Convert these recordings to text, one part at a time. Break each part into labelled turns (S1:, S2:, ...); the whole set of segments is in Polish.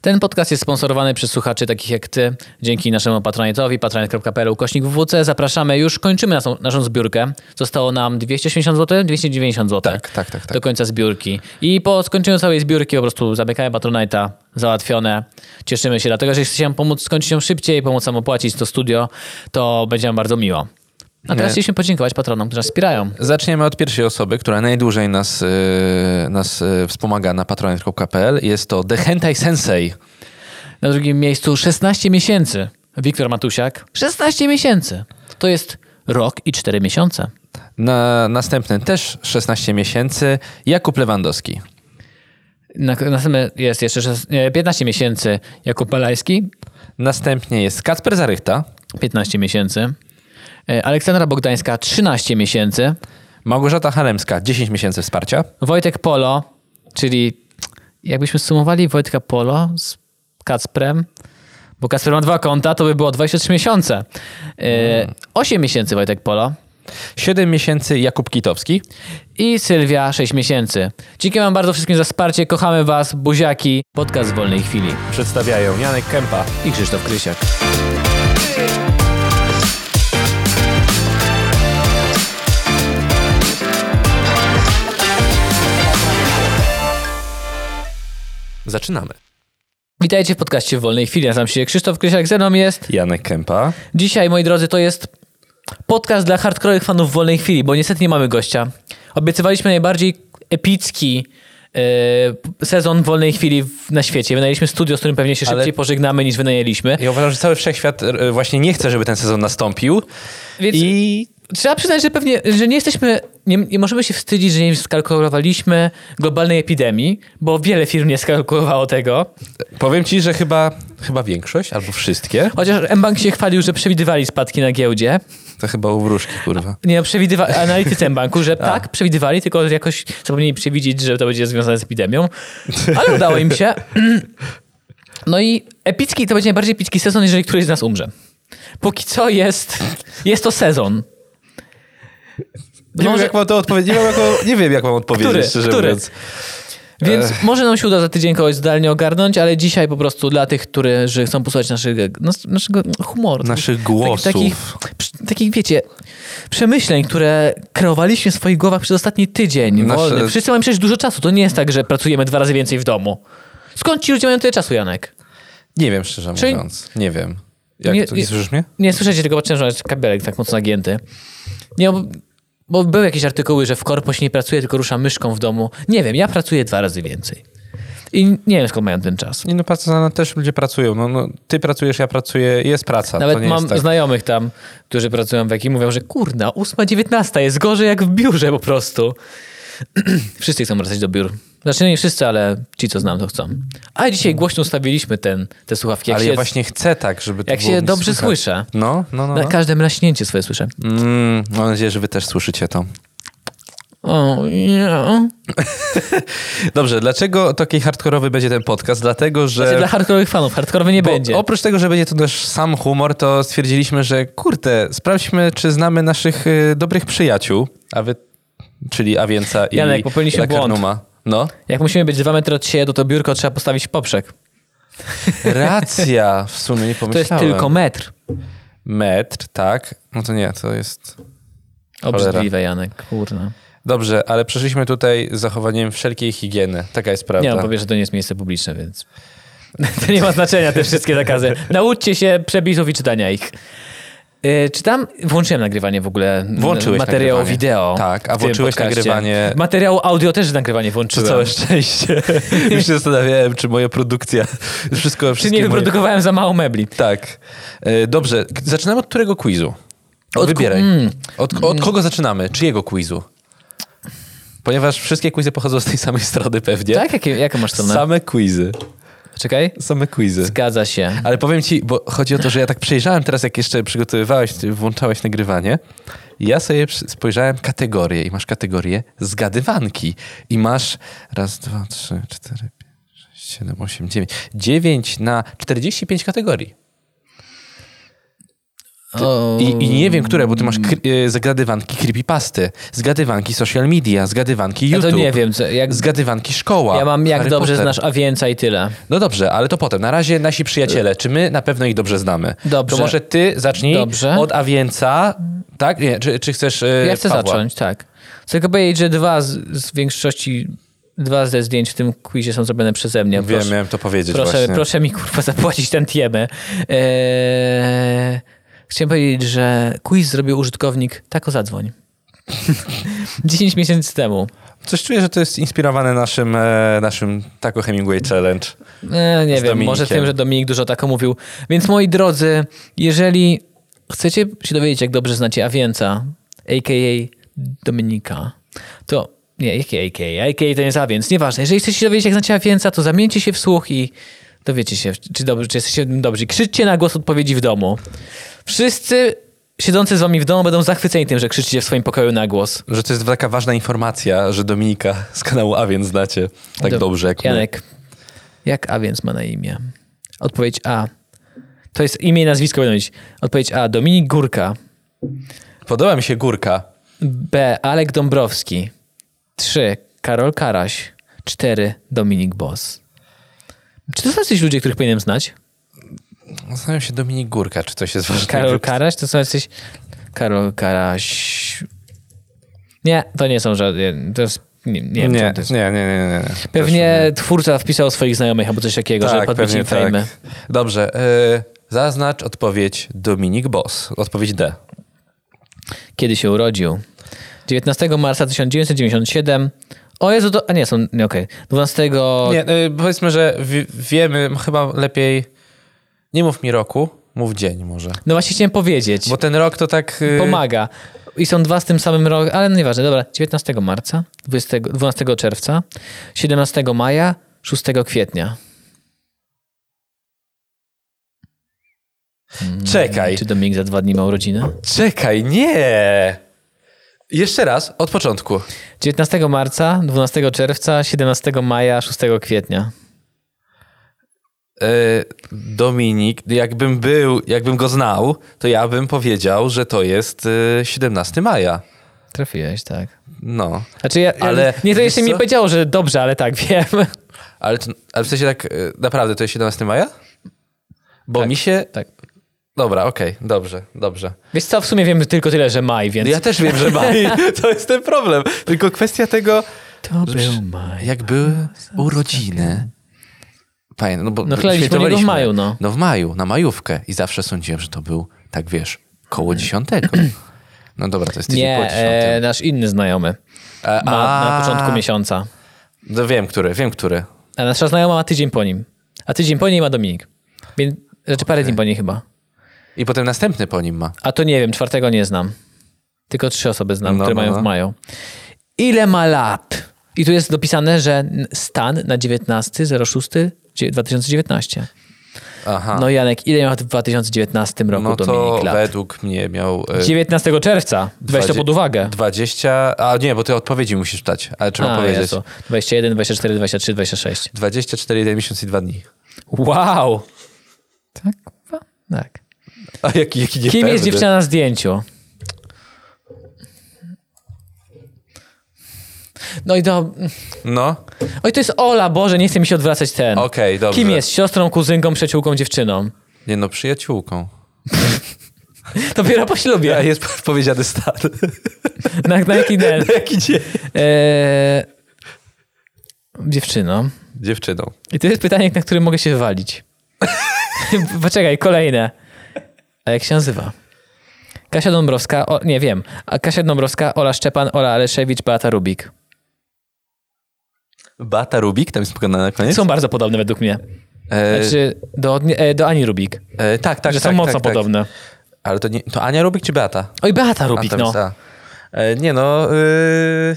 S1: Ten podcast jest sponsorowany przez słuchaczy takich jak ty. Dzięki naszemu patronatowi patronite.pl ukośnik WWC zapraszamy już, kończymy naszą, naszą zbiórkę. Zostało nam 280 zł, 290 zł.
S2: Tak, tak, tak, tak.
S1: Do końca zbiórki. I po skończeniu całej zbiórki po prostu zamykamy patronite'a, załatwione. Cieszymy się, dlatego że jeśli chcecie nam pomóc skończyć ją szybciej, pomóc nam opłacić to studio, to będzie nam bardzo miło. A teraz
S2: Nie.
S1: chcieliśmy podziękować patronom, którzy nas wspierają.
S2: Zaczniemy od pierwszej osoby, która najdłużej nas, yy, nas yy, wspomaga na patronite.pl. Jest to The Hentai Sensei.
S1: Na drugim miejscu 16 miesięcy. Wiktor Matusiak. 16 miesięcy. To jest rok i 4 miesiące.
S2: Na następnym też 16 miesięcy Jakub Lewandowski.
S1: Na, następny jest jeszcze szes- nie, 15 miesięcy Jakub Balajski.
S2: Następnie jest Kacper Zarychta,
S1: 15 miesięcy. E, Aleksandra Bogdańska 13 miesięcy.
S2: Małgorzata Halemska 10 miesięcy wsparcia,
S1: Wojtek Polo, czyli jakbyśmy sumowali Wojtka Polo z Kacprem, bo Kacper ma dwa konta, to by było 23 miesiące. E, 8 miesięcy Wojtek Polo.
S2: 7 miesięcy Jakub Kitowski,
S1: i Sylwia 6 miesięcy. Dzięki wam bardzo wszystkim za wsparcie, kochamy was, buziaki, podcast w wolnej chwili.
S2: przedstawiają Janek Kępa.
S1: I Krzysztof Krysiak.
S2: Zaczynamy.
S1: Witajcie w podcaście w wolnej chwili, nazywam się Krzysztof Krysiak, ze mną jest.
S2: Janek Kępa.
S1: Dzisiaj, moi drodzy, to jest podcast dla hardkorowych fanów wolnej chwili, bo niestety nie mamy gościa. Obiecywaliśmy najbardziej epicki e, sezon wolnej chwili w- na świecie. Wynajęliśmy studio, z którym pewnie się
S2: Ale-
S1: szybciej pożegnamy niż wynajęliśmy.
S2: Ja uważam, że cały wszechświat e, właśnie nie chce, żeby ten sezon nastąpił.
S1: Więc
S2: I
S1: Trzeba przyznać, że pewnie, że nie jesteśmy, nie, nie możemy się wstydzić, że nie skalkulowaliśmy globalnej epidemii, bo wiele firm nie skalkulowało tego.
S2: powiem ci, że chyba, chyba większość albo wszystkie
S1: Chociaż mBank się chwalił, że przewidywali spadki na giełdzie.
S2: to chyba u wróżki, kurwa.
S1: Nie, no, przewidywa analitycy mBanku, że tak, przewidywali, tylko jakoś zapomnieli przewidzieć, że to będzie związane z epidemią. Ale udało im się. No i epicki, to będzie najbardziej epicki sezon, jeżeli któryś z nas umrze. Póki co jest, jest to sezon.
S2: Nie, wiem,
S1: Może-
S2: jak mam to odpowiedzieć. Nie, wiem, jak mam- nie wiem, jak mam odpowiedzieć,
S1: Który?
S2: szczerze
S1: Który?
S2: mówiąc.
S1: Więc może nam się uda za tydzień kogoś zdalnie ogarnąć, ale dzisiaj po prostu dla tych, którzy chcą posłuchać naszego, nas- naszego humoru.
S2: Naszych
S1: tak-
S2: głosów.
S1: Takich, przy- takich, wiecie, przemyśleń, które kreowaliśmy w swoich głowach przez ostatni tydzień.
S2: Nasze-
S1: Wolny. Wszyscy mamy przecież dużo czasu. To nie jest tak, że pracujemy dwa razy więcej w domu. Skąd ci ludzie mają tyle czasu, Janek?
S2: Nie wiem, szczerze
S1: Czyli-
S2: mówiąc. Nie wiem. Jak
S1: Nie-
S2: to, nie
S1: nie-
S2: słyszysz mnie?
S1: Nie słyszycie tego, patrzę, że jest kabelek tak mocno nagięty. Nie, bo, bo były jakieś artykuły, że w korpo się nie pracuje, tylko rusza myszką w domu. Nie wiem, ja pracuję dwa razy więcej. I nie wiem, skąd mają ten czas.
S2: Nie no, praca, no, też ludzie pracują. No, no, ty pracujesz, ja pracuję, jest praca. to
S1: Nawet
S2: nie
S1: mam
S2: jest tak.
S1: znajomych tam, którzy pracują w jakim mówią, że kurna, 8.19 jest gorzej jak w biurze po prostu. wszyscy chcą wracać do biur. Znaczy nie wszyscy, ale ci, co znam, to chcą. A dzisiaj głośno ustawiliśmy ten, te słuchawki. Jak
S2: Ale
S1: się,
S2: ja właśnie chcę tak, żeby to
S1: jak
S2: było
S1: się
S2: mi
S1: dobrze Tak.
S2: słychać.
S1: słyszę.
S2: No, no, no.
S1: Na
S2: no.
S1: każdym raśnięcie swoje słyszę.
S2: Mm, mam nadzieję, że wy też słyszycie to.
S1: O, nie.
S2: Dobrze, dlaczego taki hardkorowy będzie ten podcast? Dlatego, że...
S1: Znaczy, dla hardkorowych fanów, hardkorowy nie
S2: E, Bo
S1: będzie.
S2: Oprócz tego, że będzie to nasz sam humor, to stwierdziliśmy, że kurde, sprawdźmy, czy znamy naszych y, dobrych przyjaciół, a wy, czyli Awięca i
S1: Janek, popełniliśmy
S2: Lakernuma. No,
S1: Jak musimy być dwa metry od siebie, to to biurko trzeba postawić w poprzek.
S2: racja, w sumie nie
S1: To jest
S2: pomyślałem.
S1: tylko metr.
S2: metr, tak? No to nie, to jest...
S1: Obrzydliwe, Janek, kurna.
S2: Dobrze, ale przeszliśmy tutaj z zachowaniem wszelkiej higieny. Taka jest prawda.
S1: Nie, on powie, no, że to nie jest miejsce publiczne, więc. to nie ma znaczenia, te wszystkie zakazy. Nauczcie się przepisów i czytania ich. Yy, Czytam, włączyłem nagrywanie w ogóle m,
S2: Włączyłeś
S1: materiału
S2: nagrywanie.
S1: wideo.
S2: Tak, a
S1: w tym
S2: włączyłeś
S1: podcaście.
S2: nagrywanie-
S1: Materiału audio też nagrywanie
S2: To
S1: włączyłem.
S2: całe szczęście. Już się zastanawiałem, czy moja produkcja... Wszystko,
S1: Czy
S2: wszystkie
S1: nie
S2: moje...
S1: wyprodukowałem za mało mebli?
S2: Tak. E, Dobrze, k- zaczynamy od którego quizu?
S1: Od ku-
S2: Wybieraj.
S1: mm.
S2: Od, od kogo zaczynamy? Czyjego quizu? Ponieważ wszystkie quizy pochodzą z tej samej strony pewnie.
S1: Tak? Jakie, jaką masz stronę?
S2: Same quizy.
S1: Czekaj.
S2: Same quizy.
S1: Zgadza się.
S2: Ale powiem ci, bo chodzi o to, że ja tak przejrzałem teraz, jak jeszcze przygotowywałeś, ty włączałeś nagrywanie. Ja sobie przy- spojrzałem kategorie i masz kategorię zgadywanki. I masz raz, dwa, trzy, cztery, pięć, sześć, siedem, osiem, dziewięć. Dziewięć na 45 kategorii.
S1: O.
S2: I, I nie wiem, które, bo ty masz
S1: Mm.
S2: kry- y, zagadywanki creepypasty, zgadywanki social media, zgadywanki
S1: Ja
S2: YouTube,
S1: to nie wiem, co, jak,
S2: zgadywanki szkoła.
S1: ja mam jak
S2: Harry
S1: dobrze
S2: Potter.
S1: znasz Awieńca i tyle.
S2: No dobrze, ale to potem. Na razie nasi przyjaciele, czy my na pewno ich dobrze znamy?
S1: Dobrze.
S2: To może ty zacznij
S1: Dobrze.
S2: od Awieńca, tak? Nie, czy, czy chcesz y,
S1: Ja chcę
S2: Pawła?
S1: zacząć, tak. Chcę tylko powiedzieć, że dwa z, z większości, dwa ze zdjęć w tym quizie są zrobione przeze mnie.
S2: Wiem,
S1: Proszę-
S2: miałem to powiedzieć
S1: Proszę,
S2: właśnie.
S1: proszę mi kurwa zapłacić ten tiemę. Eee, chciałem powiedzieć, że quiz zrobił użytkownik Tako Zadzwoń. 10 miesięcy temu.
S2: Coś czuję, że to jest inspirowane naszym, e, naszym Taco Hemingway Challenge.
S1: E, nie
S2: Z
S1: wiem, może
S2: Dominikiem.
S1: tym, że Dominik dużo tako mówił. Więc moi drodzy, jeżeli chcecie się dowiedzieć, jak dobrze znacie Awięca, a.k.a. Dominika, to nie, a.k.a. a.k.a. a.k.a. to nie jest Awięc, nieważne. Jeżeli chcecie się dowiedzieć, jak znacie Awięca, to zamieńcie się w słuch i dowiecie się, czy, dobrze, czy jesteście w tym dobrzy. Krzyczcie na głos odpowiedzi w domu. Wszyscy siedzący z wami w domu będą zachwyceni tym, że krzyczycie w swoim pokoju na głos.
S2: Że to jest taka ważna informacja, że Dominika z kanału A więc znacie tak
S1: Dob-
S2: dobrze jak my.
S1: Janek, jak A więc ma na imię? Odpowiedź A. To jest imię i nazwisko będą mieć. Odpowiedź A. Dominik Górka.
S2: Podoba mi się górka.
S1: B. Alek Dąbrowski. 3. Karol Karaś. 4. Dominik Bos. Czy to są jacyś ludzie, których powinienem znać?
S2: Zastanawiam się Dominik Górka, czy coś jest ważnego.
S1: Karol Karaś? To są jacyś... Karol Karaś... Nie, to nie są żadne... To jest... Nie, nie,
S2: Nie,
S1: wiem,
S2: nie,
S1: co to jest.
S2: nie, nie, nie. nie. To
S1: Pewnie twórca wpisał swoich znajomych albo coś takiego,
S2: Tak,
S1: żeby podbić im fejmy.
S2: Dobrze, y, zaznacz odpowiedź Dominik Boss. Odpowiedź D.
S1: kiedy się urodził. 19 marca 1997. O Jezu, to... A nie, są... Nie, okej. 12...
S2: Nie, y, powiedzmy, że wi- wiemy chyba lepiej... Nie mów mi roku, mów dzień może.
S1: No właśnie chciałem powiedzieć.
S2: Bo ten rok to tak... y,
S1: Pomaga. I są dwa z tym samym roku, ale no nieważne. Dobra, 19 marca, 20, 12 czerwca, 17 maja, 6 kwietnia.
S2: Czekaj.
S1: Czy Dominik za dwa dni ma urodziny?
S2: Czekaj, nie! Jeszcze raz, od początku.
S1: 19 marca, 12 czerwca, 17 maja, 6 kwietnia.
S2: E, Dominik, jakbym był, jakbym go znał, to ja bym powiedział, że to jest e, 17 maja.
S1: Trafiłeś, tak.
S2: No,
S1: Znaczy ja,
S2: Ale
S1: ale nie to
S2: wiesz
S1: jeszcze mi
S2: co?
S1: powiedziało, że dobrze, ale tak, wiem.
S2: ale, to, ale w sensie tak e, naprawdę to jest 17 maja? Bo
S1: Tak,
S2: mi się...
S1: tak.
S2: Dobra, okej, dobrze, dobrze.
S1: Wiesz co, w sumie wiem tylko tyle, że maj, więc...
S2: Ja też wiem, że maj, to jest ten problem. Tylko kwestia tego,
S1: To
S2: Przecież-
S1: był maj.
S2: jak były urodziny... Fajne, no bo
S1: No chlaliśmy niego w
S2: świętowaliśmy.
S1: maju, no.
S2: No w maju, na majówkę. I zawsze sądziłem, że to był, tak wiesz, koło dziesiątego. No dobra, to jest tydzień
S1: Mm.
S2: po
S1: Nie,
S2: dziesiątym.
S1: e, nasz inny znajomy
S2: E,
S1: ma
S2: a.
S1: na początku miesiąca.
S2: No wiem, który, wiem, który.
S1: A nasza znajoma ma tydzień po nim. A tydzień po niej ma Dominik. Więc, znaczy parę dni po niej chyba.
S2: I potem następny po nim ma.
S1: A to nie wiem, czwartego nie znam. Tylko trzy osoby znam,
S2: No,
S1: które
S2: no,
S1: mają
S2: no.
S1: w maju. Ile ma lat? I tu jest dopisane, że n- stan na 19.06.2019.
S2: Aha.
S1: No Janek, ile miał w 2019 roku
S2: No to
S1: Dominik lat?
S2: według mnie miał e,
S1: 19 czerwca. Weź to
S2: dwadzie-
S1: pod uwagę.
S2: 20. A nie, bo ty odpowiedzi musisz dać, ale trzeba
S1: A,
S2: no powiedzieć.
S1: Jezu. 21, 24, 23, 26.
S2: 24, 1 miesiąc i 2 dni.
S1: Wow! Tak, kurwa? Tak.
S2: A jaki, jaki nie
S1: Kim jest dziewczyna na zdjęciu? No i do...
S2: No,
S1: Oj, to jest Ola, Boże, nie chce mi się odwracać ten.
S2: okej, dobrze.
S1: Kim jest? Siostrą, kuzynką, przyjaciółką, dziewczyną?
S2: Nie no, przyjaciółką.
S1: Dopiero po
S2: Ja
S1: ślubie.
S2: jest powiedziany stan.
S1: Na, na jaki den?
S2: jaki dzień?
S1: Eee, dziewczyną.
S2: Dziewczyną.
S1: I to jest pytanie, na które mogę się wywalić. Poczekaj, kolejne. A jak się nazywa? Kasia Dąbrowska, o, nie wiem. A Kasia Dąbrowska, Ola Szczepan, Ola Aleszewicz, Beata Rubik.
S2: Bata Rubik, tam jest pokazane na koniec.
S1: Są bardzo podobne według mnie.
S2: E,
S1: Znaczy, do, nie, e, do Ani Rubik.
S2: e, tak, tak,
S1: że
S2: tak,
S1: są mocno
S2: tak,
S1: podobne.
S2: Tak. Ale to, nie, to Ania Rubik czy Beata?
S1: Oj, Beata
S2: A,
S1: Rubik,
S2: tam
S1: no.
S2: jest A. E, nie no, y,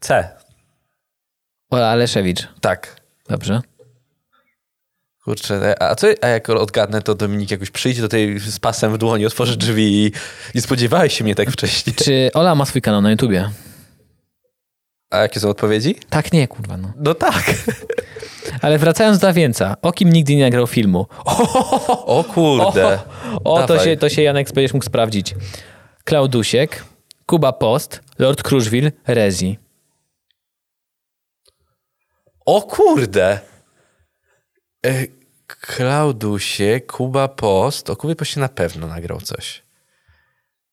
S2: C.
S1: Ola Aleszewicz.
S2: Tak.
S1: Dobrze.
S2: Kurczę, no a co, a jak odgadnę, to Dominik jakoś przyjdzie do tej z pasem w dłoni, otworzy drzwi i nie spodziewałeś się mnie tak wcześniej.
S1: Czy Ola ma swój kanał na YouTubie?
S2: A jakie są odpowiedzi?
S1: Tak, nie, kurwa, no.
S2: No tak.
S1: Ale wracając do Dawięca, o kim nigdy nie nagrał filmu?
S2: O kurde.
S1: O, to
S2: Dawaj.
S1: się, to się Janek będziesz mógł sprawdzić. Klaudusiek, Kuba Post, Lord Kruszwil, Rezi.
S2: O kurde. E, Klaudusie, Kuba Post. O Kubie Poście na pewno nagrał coś.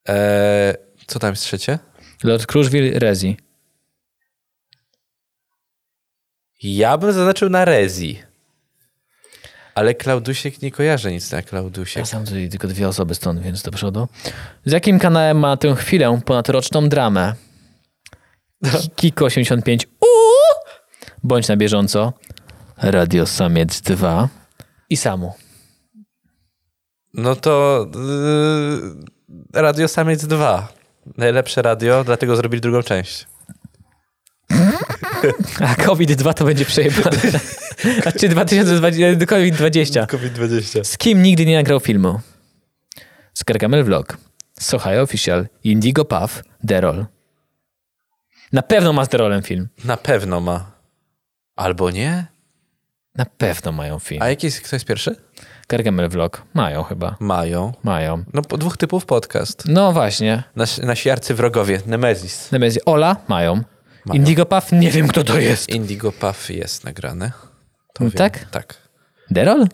S2: E, co tam jest trzecie?
S1: Lord Kruszwil, Rezi.
S2: Ja bym zaznaczył na Rezi. Ale Klaudusiek nie kojarzę nic na Klaudusiek.
S1: Ja sam Tak tutaj tylko dwie osoby stąd, więc do przodu. Z jakim kanałem ma tę chwilę ponadroczną dramę? Ki- Kiko 85 Uuu! Bądź na bieżąco. Radio Samiec 2 i Samu.
S2: No to y, Radio Samiec 2. Najlepsze radio, dlatego zrobili drugą część.
S1: A COVID-2 to będzie przejebane. Znaczy 2020, COVID-20.
S2: COVID-20.
S1: Z kim nigdy nie nagrał filmu? Z Gargamel Vlog, Sohaj Official, Indigo Puff, Derol. Na pewno ma z Derolem film.
S2: Na pewno ma. Albo nie?
S1: Na pewno mają film.
S2: A jaki jest, kto jest pierwszy?
S1: Gargamel Vlog. Mają chyba.
S2: Mają.
S1: Mają.
S2: No po dwóch typów podcast.
S1: No właśnie.
S2: Nasi, nasi arcywrogowie, Nemezis.
S1: Natomiast Ola mają.
S2: Mają.
S1: Indigo Puff nie wiem kto to jest.
S2: Indigo Puff jest nagrane. To
S1: No
S2: wiem.
S1: tak?
S2: Tak.
S1: Derol?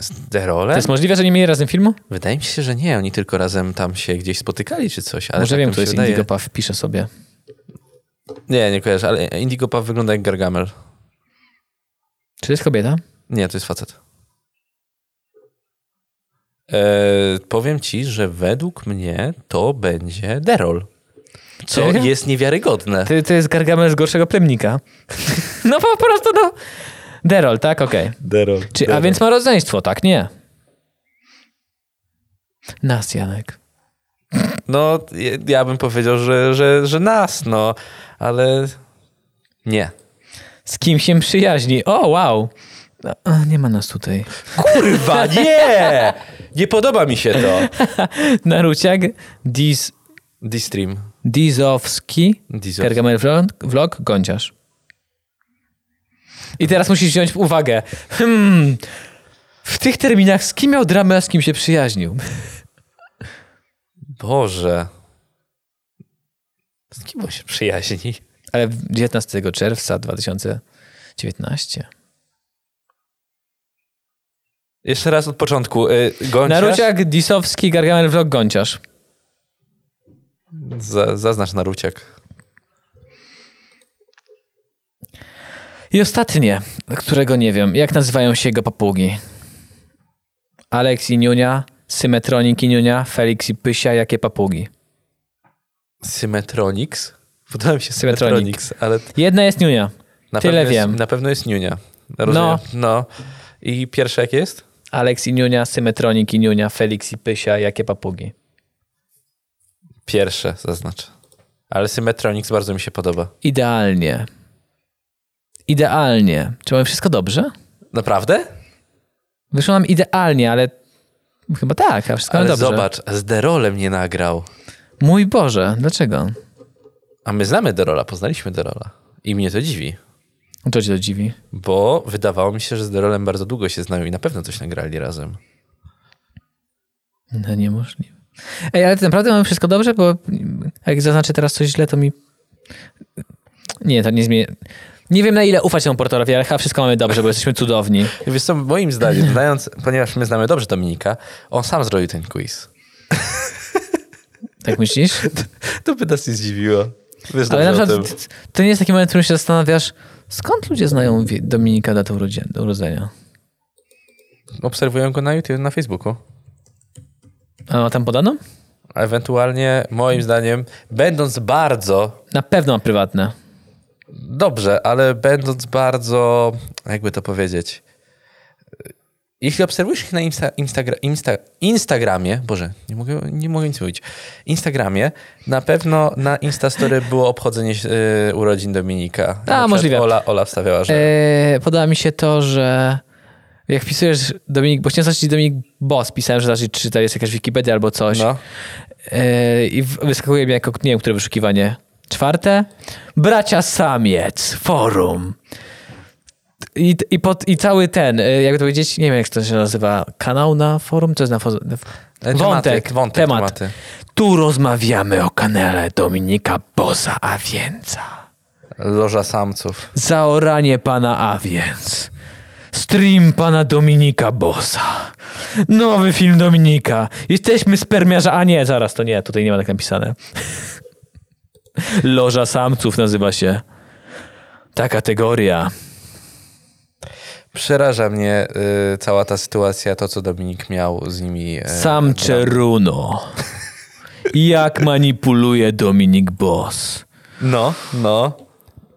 S2: Z
S1: To
S2: Derolem?
S1: jest możliwe, że nie mieli razem filmu?
S2: Wydaje mi się, że nie. Oni tylko razem tam się gdzieś spotykali czy coś. Ale
S1: Może
S2: tak
S1: wiem
S2: mi
S1: kto
S2: się
S1: jest
S2: wydaje.
S1: Indigo Puff. Piszę sobie.
S2: Nie, nie kojarzę, ale Indigo Puff wygląda jak Gargamel.
S1: Czy to jest kobieta?
S2: Nie, to jest facet. E, powiem ci, że według mnie to będzie Derol. Co
S1: Serio?
S2: jest niewiarygodne.
S1: To, to jest Gargamel z gorszego plemnika. no po prostu no. Derol, tak? Okej.
S2: Derol.
S1: Czy, a więc ma rodzeństwo, tak? Nie. Nas, Janek.
S2: No, ja- ja bym powiedział, że, że, że nas, no, ale nie.
S1: Z kim się przyjaźni? O, wow. No, a, nie ma nas tutaj.
S2: Kurwa, nie! Nie podoba mi się to.
S1: Naruciak, Diz,
S2: Distream.
S1: Dizowski,
S2: Dizowski.
S1: Gargamel vlog, vlog, Gąciarz. I teraz musisz wziąć w uwagę. Hmm, w tych terminach z kim miał dramę, a z kim się przyjaźnił?
S2: Boże. Z kim on się przyjaźni?
S1: Ale w- 19 czerwca 2019.
S2: Jeszcze raz od początku. Y, Gąciarz?
S1: Naruciak, Disowski, Gargamel Vlog, Gąciarz.
S2: Za, zaznacz Naruciak.
S1: I ostatnie, którego nie wiem, jak nazywają się jego papugi. Alex i Niunia, Symetronik i Niunia, Felix i Pysia, jakie papugi.
S2: Symetronix? Podoba mi się
S1: Symetronic.
S2: Symetronix, ale
S1: Jedna jest Niunia.
S2: na
S1: Tyle
S2: pewno
S1: wiem.
S2: Jest, na pewno jest Niunia. Rozumiem. No. no. I pierwsze jak jest?
S1: Alex i Niunia, Symetronik i Niunia, Felix i Pysia, jakie papugi.
S2: Pierwsze zaznacz. Ale Symetronix bardzo mi się podoba.
S1: Idealnie. Idealnie. Czy mamy wszystko dobrze?
S2: Naprawdę?
S1: No Wyszło nam idealnie, ale chyba tak, a wszystko
S2: Ale
S1: mamy dobrze.
S2: zobacz, z Derolem nie nagrał.
S1: Mój Boże, dlaczego?
S2: A my znamy Derola, poznaliśmy Derola. I mnie to dziwi,
S1: To cię to dziwi.
S2: bo wydawało mi się, że z Derolem bardzo długo się znają i na pewno coś nagrali razem.
S1: No niemożliwe. Ej, ale ty naprawdę mamy wszystko dobrze, bo jak zaznaczę teraz coś źle, to mi... Nie, to nie zmieni... Nie wiem na ile ufać temu portalowi, ale chyba wszystko mamy dobrze, bo jesteśmy cudowni.
S2: I Wiesz co, moim zdaniem, znając, ponieważ my znamy dobrze Dominika, on sam zrobił ten quiz.
S1: Tak myślisz?
S2: To by nas nie zdziwiło. Wiesz
S1: Ale
S2: dobrze
S1: na
S2: o
S1: przykład
S2: tym.
S1: t- t- to nie jest taki moment, w którym się zastanawiasz, skąd ludzie znają wie- Dominika datę urodzi- urodzenia?
S2: Obserwuję go na YouTube, na Facebooku.
S1: A ma tam podaną?
S2: A ewentualnie, moim zdaniem, będąc bardzo,
S1: Na pewno ma prywatne.
S2: dobrze, ale będąc bardzo, jakby to powiedzieć, jeśli obserwujesz ich na insta, Instagra, insta, Instagramie, Boże, nie mogę, nie mogę nic mówić, Instagramie, na pewno na Instastory było obchodzenie yy, urodzin Dominika. Na przykład
S1: Tak, możliwe.
S2: Ola, Ola wstawiała, że...
S1: E, podoba mi się to, że jak wpisujesz Dominik, bo chciałem zaznaczyć Dominik Boss, pisałem, że zaznaczyć, czy to jest jakaś Wikipedia albo coś.
S2: No.
S1: Yy, E, I w- wyskakuje mi jako, nie wiem, które wyszukiwanie. Czwarte, bracia samiec, forum. I, i, pod, I cały ten, y, jakby to powiedzieć, nie wiem jak to się nazywa, kanał na forum? Co jest na forum?
S2: E, tematy, wątek, tematy.
S1: Tu rozmawiamy o kanale Dominika Bosa Awięca.
S2: Loża samców.
S1: Zaoranie pana Awięc. Stream pana Dominika Bosa. Nowy film Dominika. Jesteśmy spermiarza. A nie, zaraz, to nie, tutaj nie ma tak napisane. Loża samców nazywa się. Ta kategoria.
S2: Przeraża mnie y, cała ta sytuacja, to co Dominik miał z nimi. y,
S1: Samcze runo. Jak manipuluje Dominik Bos.
S2: No, no.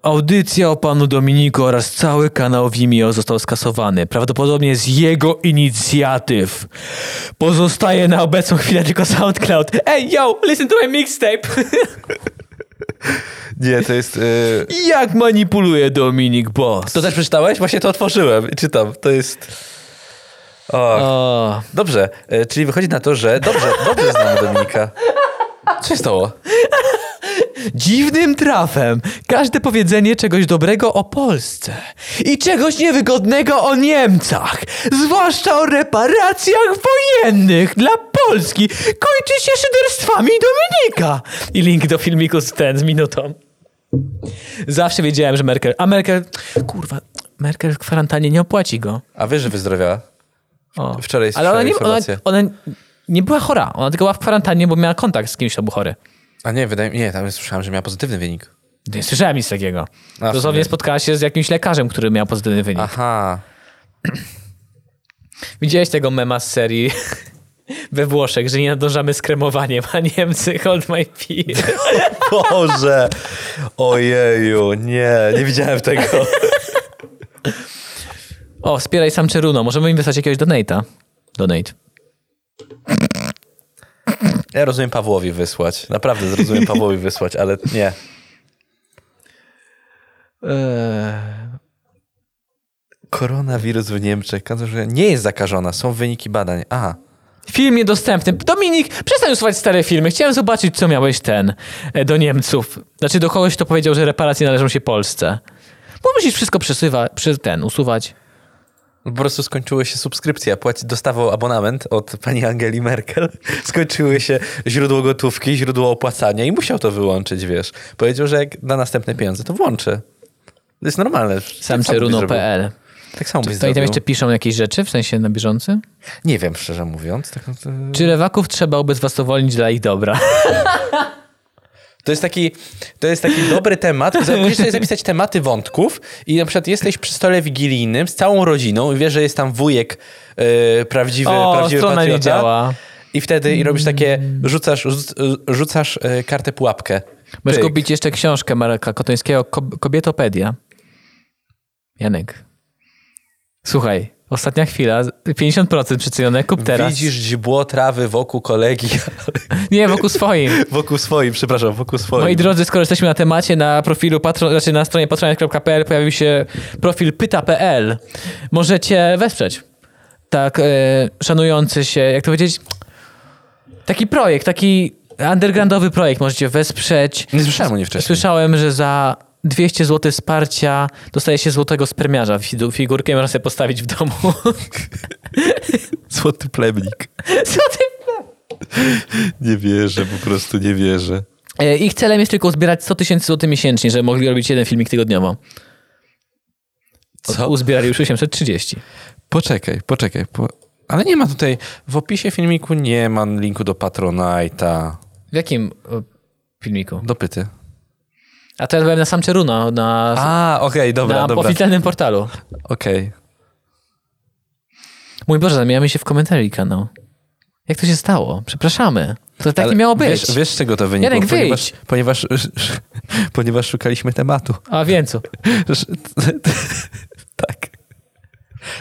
S1: Audycja o panu Dominiku oraz cały kanał Vimeo został skasowany. Prawdopodobnie z jego inicjatyw. Pozostaje na obecną chwilę tylko SoundCloud. Ej, yo, listen to my mixtape.
S2: Nie, to jest... y,
S1: Jak manipuluje Dominik Boss.
S2: To też przeczytałeś? Właśnie to otworzyłem i czytam. To jest... O,
S1: O,
S2: dobrze, y, czyli wychodzi na to, że dobrze, dobrze znamy Dominika. Co się stało?
S1: dziwnym trafem każde powiedzenie czegoś dobrego o Polsce i czegoś niewygodnego o Niemcach, zwłaszcza o reparacjach wojennych dla Polski, kończy się szyderstwami Dominika. I link do filmiku z ten, z minutą. Zawsze wiedziałem, że Merkel... A Merkel... Kurwa, Merkel w kwarantannie nie opłaci go.
S2: A wiesz, że wyzdrowiała?
S1: O.
S2: Wczoraj
S1: Ale ona nie, ona,
S2: informację.
S1: ona nie była chora. Ona tylko była w kwarantannie, bo miała kontakt z kimś, kto był chory.
S2: A nie, wydaje mi nie, tam słyszałem, że miała pozytywny wynik.
S1: Nie słyszałem nic takiego.
S2: A,
S1: Dosłownie
S2: w sumie.
S1: spotkała się z jakimś lekarzem, który miał pozytywny wynik.
S2: Aha.
S1: Widziałeś tego mema z serii we Włoszech, że nie nadążamy z kremowaniem, a Niemcy hold my pee.
S2: Boże! Ojeju, nie, nie widziałem tego.
S1: O, wspieraj sam Czeruno. Możemy im wysłać jakiegoś donate'a. Donate.
S2: Ja rozumiem Pawłowi wysłać. Naprawdę zrozumiem Pawłowi wysłać, ale nie.
S1: Eee,
S2: Koronawirus w Niemczech. Kanclerz nie jest zakażona, są wyniki badań. Aha.
S1: Film niedostępny. Dominik, przestań usuwać stare filmy. Chciałem zobaczyć, co miałeś ten e, do Niemców. Znaczy do kogoś, kto powiedział, że reparacje należą się Polsce. Bo musisz wszystko przesywa, przy ten, usuwać.
S2: Po prostu skończyły się subskrypcje. Płaci, dostawał abonament od pani Angeli Merkel. Skończyły się źródło gotówki, źródło opłacania i musiał to wyłączyć, wiesz. Powiedział, że jak da następne pieniądze, to włączy. To jest normalne.
S1: Sam
S2: Tak samo byś zrobił.
S1: Czeruno.pl.
S2: Tak samo byś
S1: To i tam
S2: zrobił.
S1: jeszcze piszą jakieś rzeczy, w sensie na bieżący?
S2: Nie wiem, szczerze mówiąc. Tak, no to...
S1: Czy lewaków trzeba ubezwłasnowolnić dla ich dobra?
S2: To jest taki, to jest taki dobry temat. Musisz sobie zapisać tematy wątków i na przykład jesteś przy stole wigilijnym z całą rodziną i wiesz, że jest tam wujek yy, prawdziwy,
S1: O,
S2: prawdziwy
S1: strona nie
S2: patriota.
S1: działa.
S2: I wtedy i robisz takie, rzucasz, rzuc- rzucasz yy, kartę pułapkę.
S1: Możesz
S2: Pyk.
S1: kupić jeszcze książkę Marka Kotońskiego, Kob- Kobietopedia. Janek. Słuchaj, ostatnia chwila, 50% przecenione, kup teraz.
S2: Widzisz źdźbło trawy wokół kolegi,
S1: Nie, wokół swoim.
S2: wokół swoim, przepraszam, wokół swoim.
S1: Moi drodzy, skoro jesteśmy na temacie, na profilu patro, znaczy na stronie patronite.pl pojawił się profil pyta.pl. Możecie wesprzeć. Tak, e, szanujący się, jak to powiedzieć, taki projekt, taki undergroundowy projekt możecie wesprzeć.
S2: Nie słyszałem o niej wcześniej.
S1: Słyszałem, że za 200 zł wsparcia dostaje się złotego spermiarza. Fidu- Figurkę można sobie postawić w domu.
S2: Złoty plemnik.
S1: Co ty
S2: Nie wierzę, po prostu nie wierzę.
S1: E, Ich celem jest tylko zbierać 100 tysięcy złotych miesięcznie, żeby mogli robić jeden filmik tygodniowo.
S2: Co?
S1: Uzbierali już 830.
S2: Poczekaj, poczekaj. Po... Ale nie ma tutaj, w opisie filmiku nie ma linku do Patronite'a.
S1: W jakim e, filmiku?
S2: Do pyty.
S1: A teraz byłem na sam Czeruno, na,
S2: A, okej, dobra,
S1: na
S2: dobra.
S1: oficjalnym portalu.
S2: Okej.
S1: Mój Boże, zamieniamy się w komentarzy kanał. Jak to się stało? Przepraszamy. To tak
S2: Ale
S1: nie miało być.
S2: Wiesz, wiesz z czego to wynikło?
S1: Janek,
S2: ponieważ,
S1: wyjdź.
S2: ponieważ, ponieważ szukaliśmy tematu.
S1: A więc co?
S2: tak.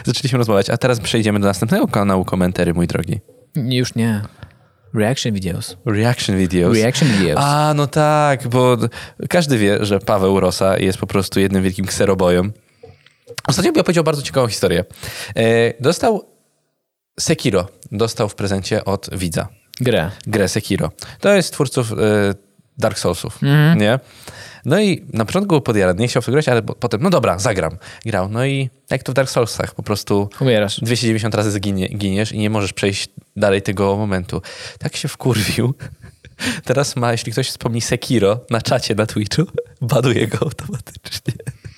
S2: Zaczęliśmy rozmawiać, a teraz przejdziemy do następnego kanału komentarzy, mój drogi.
S1: Nie, Już nie. Reaction videos.
S2: Reaction videos.
S1: Reaction videos.
S2: A, no tak, bo każdy wie, że Paweł Rosa jest po prostu jednym wielkim kserobojem. Ostatnio bym powiedział bardzo ciekawą historię. E, Dostał Sekiro, dostał w prezencie od widza.
S1: Grę.
S2: grę Sekiro. To jest twórców e, Dark Soulsów, nie? No i na początku był podjarany, nie chciał w to grać, ale po, potem, no dobra, zagram. Grał. No i jak to w Dark Soulsach, po prostu
S1: Umierasz.
S2: 290 razy zginie, giniesz i nie możesz przejść dalej tego momentu. Tak się wkurwił. Teraz ma, jeśli ktoś wspomni Sekiro na czacie na Twitchu, baduje go automatycznie.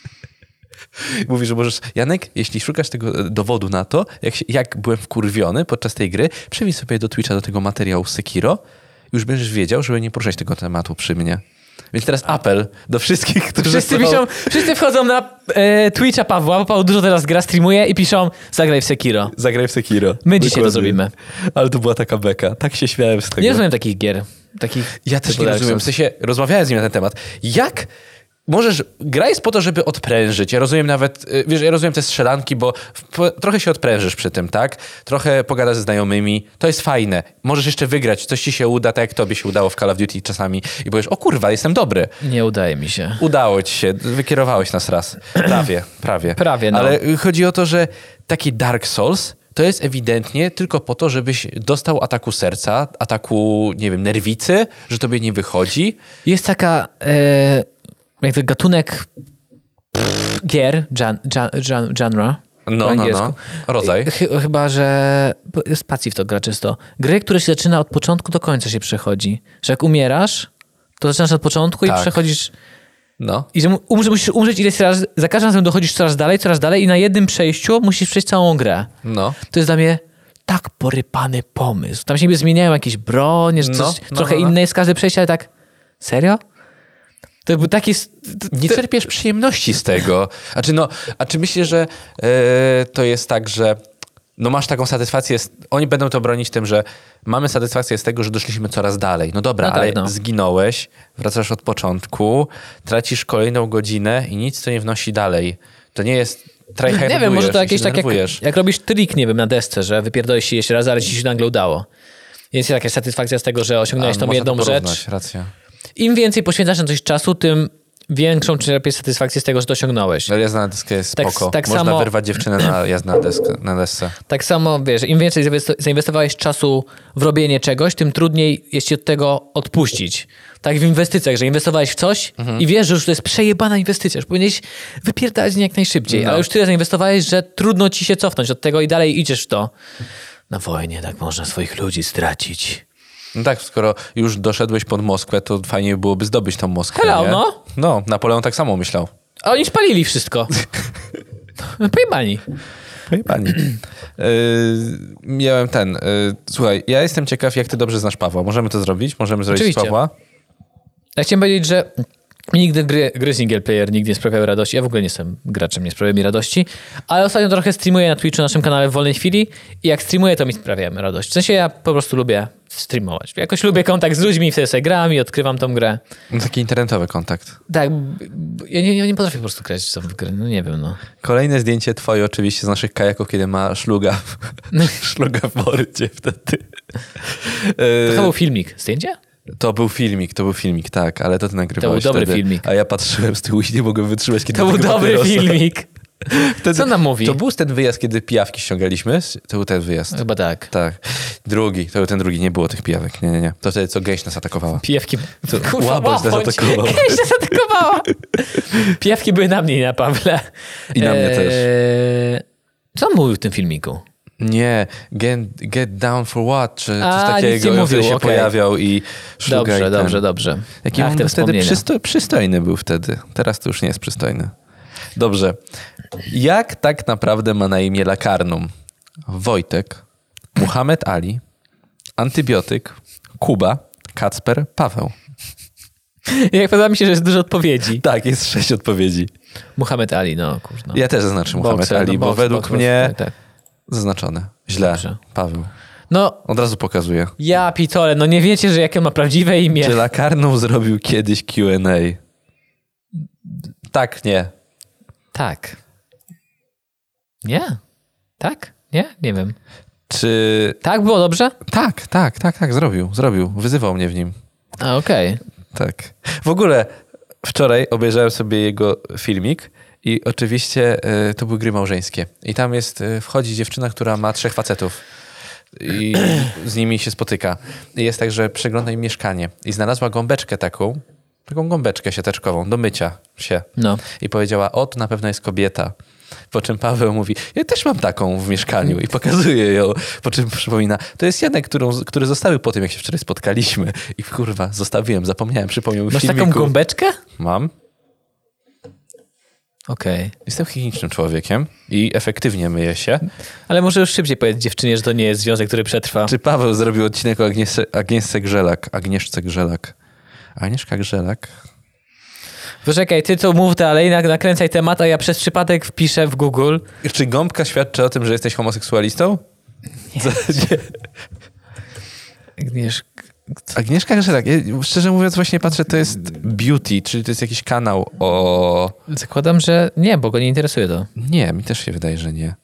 S2: Mówi, że możesz, Janek, jeśli szukasz tego e, dowodu na to, jak, się, jak byłem wkurwiony podczas tej gry, przewin sobie do Twitcha do tego materiału z Sekiro, już będziesz wiedział, żeby nie poruszać tego tematu przy mnie. Więc teraz apel do wszystkich, którzy
S1: Wszyscy
S2: są-
S1: piszą, wszyscy wchodzą na e, Twitcha Pawła, bo Paweł dużo teraz gra, streamuje i piszą zagraj w Sekiro.
S2: Zagraj w Sekiro.
S1: My dzisiaj to zrobimy.
S2: Ale to była taka beka. Tak się śmiałem z tego.
S1: Nie rozumiem takich gier. Takich
S2: Ja też
S1: typu
S2: nie
S1: Dark
S2: rozumiem. W
S1: Souls.
S2: sensie rozmawiałem z nim na ten temat. Jak możesz... Gra jest po to, żeby odprężyć. Ja rozumiem nawet... y, Wiesz, ja rozumiem te strzelanki, bo w, po, trochę się odprężysz przy tym, tak? Trochę pogadasz ze znajomymi. To jest fajne. Możesz jeszcze wygrać. Coś ci się uda, tak jak tobie się udało w Call of Duty czasami. I powiesz, o kurwa, jestem dobry.
S1: Nie udaje mi się.
S2: Udało ci się, wykierowałeś nas raz. Prawie, prawie.
S1: Prawie, no.
S2: Ale chodzi o to, że taki Dark Souls to jest ewidentnie tylko po to, żebyś dostał ataku serca, ataku, nie wiem, nerwicy, że tobie nie wychodzi. No,
S1: Jest taka, e, jak to gatunek pff, gier, gen, gen, gen, genre. po
S2: No, no,
S1: angielsku.
S2: no. Rodzaj.
S1: Chy- Chyba, że bo spacji w to gra czysto. Gry, które się zaczyna od początku do końca się przechodzi. Że jak umierasz, to zaczynasz od początku i
S2: Tak.
S1: przechodzisz...
S2: No.
S1: I że mu- umrze, musisz umrzeć ileś razy, za każdym razem dochodzisz coraz dalej, coraz dalej i na jednym przejściu musisz przejść całą grę.
S2: No.
S1: To jest dla mnie tak porypany pomysł. Tam się niby zmieniają jakieś bronie, że coś,
S2: No, no,
S1: trochę
S2: no, no.
S1: inne jest każde przejście, ale tak serio? To był taki... s- t-
S2: Nie
S1: t-
S2: czerpiesz przyjemności z tego. A czy, no, a czy myślisz, że e, to jest tak, że no masz taką satysfakcję, z, oni będą to bronić tym, że mamy satysfakcję z tego, że doszliśmy coraz dalej. No dobra,
S1: No tak,
S2: ale
S1: no.
S2: zginąłeś, wracasz od początku, tracisz kolejną godzinę i nic to nie wnosi dalej. To nie jest tryhardujesz,
S1: Nie wiem, może to
S2: i
S1: jakieś
S2: się
S1: tak jak,
S2: denerwujesz.
S1: jak robisz trik, nie wiem, na desce, że wypierdolisz się jeszcze raz, ale ci się nagle udało. Jest jakaś satysfakcja z tego, że osiągnąłeś
S2: A,
S1: tą
S2: można to
S1: jedną
S2: porównać,
S1: rzecz.
S2: Racja.
S1: Im więcej poświęcasz na coś czasu, tym większą czerpiesz satysfakcję z tego, że to osiągnąłeś.
S2: No, jazda na deskę jest
S1: Tak-
S2: spoko.
S1: tak
S2: Można
S1: samo-
S2: wyrwać dziewczynę na jazdę na, deskę, na desce.
S1: Tak samo, wiesz, im więcej zainwesto- zainwestowałeś czasu w robienie czegoś, tym trudniej jest ci od tego odpuścić. Tak w inwestycjach, że inwestowałeś w coś i wiesz, że już to jest przejebana inwestycja, już powinieneś wypierdalać z niej jak najszybciej,
S2: No.
S1: ale już tyle zainwestowałeś, że trudno ci się cofnąć od tego i dalej idziesz w to. Na wojnie tak można swoich ludzi stracić.
S2: No tak, skoro już doszedłeś pod Moskwę, to fajnie byłoby zdobyć tą Moskwę.
S1: Hello,
S2: nie?
S1: no.
S2: No, Napoleon tak samo myślał.
S1: A oni spalili wszystko. Pojebani.
S2: Pani pani. e, miałem ten. y, słuchaj, ja jestem ciekaw, jak ty dobrze znasz Pawła. Możemy to zrobić? Możemy zrobić
S1: Oczywiście.
S2: z Pawła?
S1: Ja chciałem powiedzieć, że mi nigdy gry, gry single player nigdy nie sprawiały radości. Ja w ogóle nie jestem graczem, nie sprawia mi radości. Ale ostatnio trochę streamuję na Twitchu, na naszym kanale w wolnej chwili i jak streamuję, to mi sprawia radość. W sensie ja po prostu lubię streamować. Jakoś lubię kontakt z ludźmi, wtedy sobie gram i odkrywam tą grę.
S2: No, taki internetowy kontakt.
S1: Tak, b- b- ja nie, ja nie potrafię po prostu grać w tą grę, no nie wiem, no.
S2: Kolejne zdjęcie twoje oczywiście z naszych kajaków, kiedy ma szluga w, szluga w mordzie wtedy.
S1: To
S2: Y,
S1: chyba był filmik. Zdjęcie?
S2: to był filmik, to był filmik, tak, ale to ty nagrywałeś
S1: dobry
S2: wtedy,
S1: filmik.
S2: A ja patrzyłem z tyłu i nie mogłem wytrzymać, kiedy
S1: To był
S2: tego
S1: dobry
S2: papierosa.
S1: filmik.
S2: Wtedy,
S1: Co nam mówi?
S2: To był ten wyjazd, kiedy pijawki ściągaliśmy? To był ten wyjazd.
S1: Chyba tak.
S2: Tak. Drugi, to był ten drugi, nie było tych pijawek. Nie, nie, nie. To wtedy co gęś nas atakowała.
S1: Pijawki.
S2: łaboś zaatakował.
S1: Kiedyś nas atakowała. Pijawki były na mnie i na Pawle.
S2: I na mnie też.
S1: Eee, Co on mówił w tym filmiku?
S2: Nie, get, get down for what? Czy coś
S1: A, nic nie
S2: takiego który
S1: mówił,
S2: się
S1: okej.
S2: pojawiał i szukał.
S1: Dobrze, dobrze, dobrze.
S2: Jaki
S1: Ach,
S2: on
S1: te
S2: był wtedy
S1: wspomnienia.
S2: przysto, przystojny był wtedy. Teraz to już nie jest przystojny. Dobrze. Jak tak naprawdę ma na imię lakarnum? Wojtek, Muhammad Ali, Antybiotyk, Kuba, Kacper, Paweł.
S1: Jak podoba mi się, że jest dużo odpowiedzi.
S2: Tak, jest sześć odpowiedzi.
S1: Muhammad Ali, no kurczę.
S2: Ja też zaznaczę Muhammad
S1: Bokser,
S2: Ali,
S1: no,
S2: bo
S1: boks,
S2: według
S1: boks, boks,
S2: mnie
S1: tak, tak.
S2: zaznaczone. Źle.
S1: Dobrze.
S2: Paweł.
S1: No,
S2: Od razu pokazuję.
S1: ja pitole, no nie wiecie, że jakie ma prawdziwe imię.
S2: Czy Lakarnum zrobił kiedyś Q&A? Tak, nie.
S1: Tak. Nie? Tak? Nie? Nie wiem.
S2: Czy...
S1: Tak było dobrze?
S2: Tak, tak, tak, tak, zrobił, zrobił. Wyzywał mnie w nim.
S1: A, okej.
S2: Tak. W ogóle wczoraj obejrzałem sobie jego filmik i oczywiście e, to były gry małżeńskie. I tam jest, e, wchodzi dziewczyna, która ma trzech facetów. i z nimi się spotyka. I jest tak, że przegląda im mieszkanie i znalazła gąbeczkę taką, taką gąbeczkę siateczkową do mycia się.
S1: No.
S2: I powiedziała, o, to na pewno jest kobieta. Po czym Paweł mówi, ja też mam taką w mieszkaniu i pokazuje ją. Po czym przypomina, to jest Janek, którą, który zostawił po tym, jak się wczoraj spotkaliśmy. I kurwa, zostawiłem, zapomniałem, przypomniał mi w
S1: Masz taką
S2: filmiku.
S1: gąbeczkę?
S2: Mam.
S1: Okej.
S2: Jestem higienicznym człowiekiem i efektywnie myję się.
S1: Ale może już szybciej powiedz dziewczynie, że to nie jest związek, który przetrwa.
S2: Czy Paweł zrobił odcinek o Agnieszce, Agnieszce Grzelak? Agnieszce Grzelak. Agnieszka Grzelak?
S1: Poczekaj, ty co mów dalej, nak- nakręcaj temat, a ja przez przypadek wpiszę w Google.
S2: Czy gąbka świadczy o tym, że jesteś homoseksualistą? Co? Nie.
S1: Agnieszka.
S2: Agnieszka Grzelak. Ja, szczerze mówiąc, właśnie patrzę, to jest beauty, czyli to jest jakiś kanał o...
S1: Zakładam, że nie, bo go nie interesuje to.
S2: Nie, mi też się wydaje, że nie.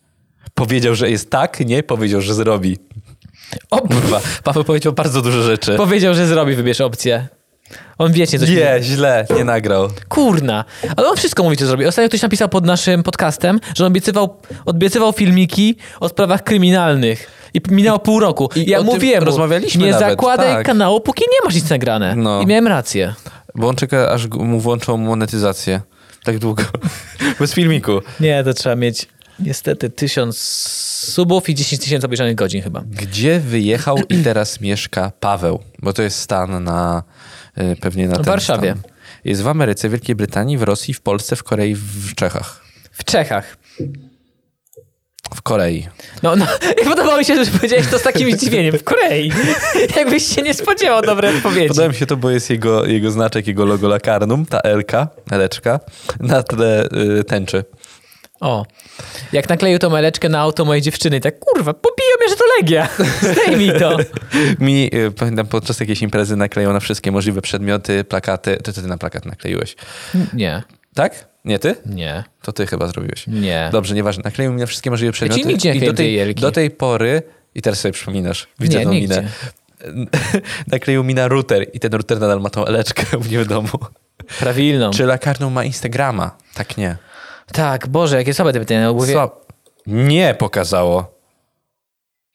S2: Powiedział, że jest tak, nie powiedział, że zrobi.
S1: O,
S2: Kurwa, Paweł powiedział bardzo dużo rzeczy.
S1: powiedział, że zrobi, wybierz opcję. On wiecznie coś
S2: Nie, źle, nie nagrał.
S1: Kurna. Ale on wszystko mówi, co zrobi. Ostatnio ktoś napisał pod naszym podcastem, że on obiecywał, obiecywał filmiki o sprawach kryminalnych. I p- minęło pół roku.
S2: I
S1: ja
S2: o tym
S1: mówiłem mu,
S2: rozmawialiśmy
S1: nie
S2: nawet,
S1: zakładaj
S2: tak.
S1: kanału, póki nie masz nic nagrane.
S2: No.
S1: I miałem rację.
S2: Bo on czeka, aż g- mu włączą monetyzację. Tak długo. Bez filmiku.
S1: Nie, to trzeba mieć niestety tysiąc subów i 10 tysięcy obejrzanych godzin chyba.
S2: Gdzie wyjechał i teraz mieszka Paweł? Bo to jest stan na y, pewnie na ten
S1: Warszawie.
S2: Stan. Jest w Ameryce, Wielkiej Brytanii, w Rosji, w Polsce, w Korei, w Czechach.
S1: W Czechach.
S2: W Korei.
S1: No, no i podobało mi się, że powiedziałeś to z takim zdziwieniem. W Korei. Jakbyś się nie spodziewał dobrej odpowiedzi.
S2: Podoba mi się to, bo jest jego, jego znaczek, jego logo lakarnum, ta Elka, Eleczka, na tle y, tęczy.
S1: O, jak nakleił tą meleczkę na auto mojej dziewczyny, tak kurwa, pobiją mnie, że to Legia. Zdejmij to.
S2: Mi, y, pamiętam, podczas jakiejś imprezy naklejono wszystkie możliwe przedmioty, plakaty. To, to ty na plakat nakleiłeś.
S1: Nie,
S2: Tak? Nie ty?
S1: nie,
S2: To ty chyba zrobiłeś.
S1: nie.
S2: Dobrze, nieważne. Nakleił mi na wszystkie możliwe przedmioty.
S1: ci nigdzie nie
S2: I do
S1: kleiłem tej
S2: tej,
S1: jelki.
S2: do tej pory, i teraz sobie przypominasz, widzę
S1: Nie,
S2: tą
S1: nigdzie.
S2: minę. Nakleił mi na router i ten router nadal ma tą eleczkę u mnie w domu.
S1: Prawilną.
S2: Czy lakarną ma Instagrama? Tak nie.
S1: Tak, Boże, jakie słabe te pytania. no Bo wie...
S2: Słab- Nie pokazało.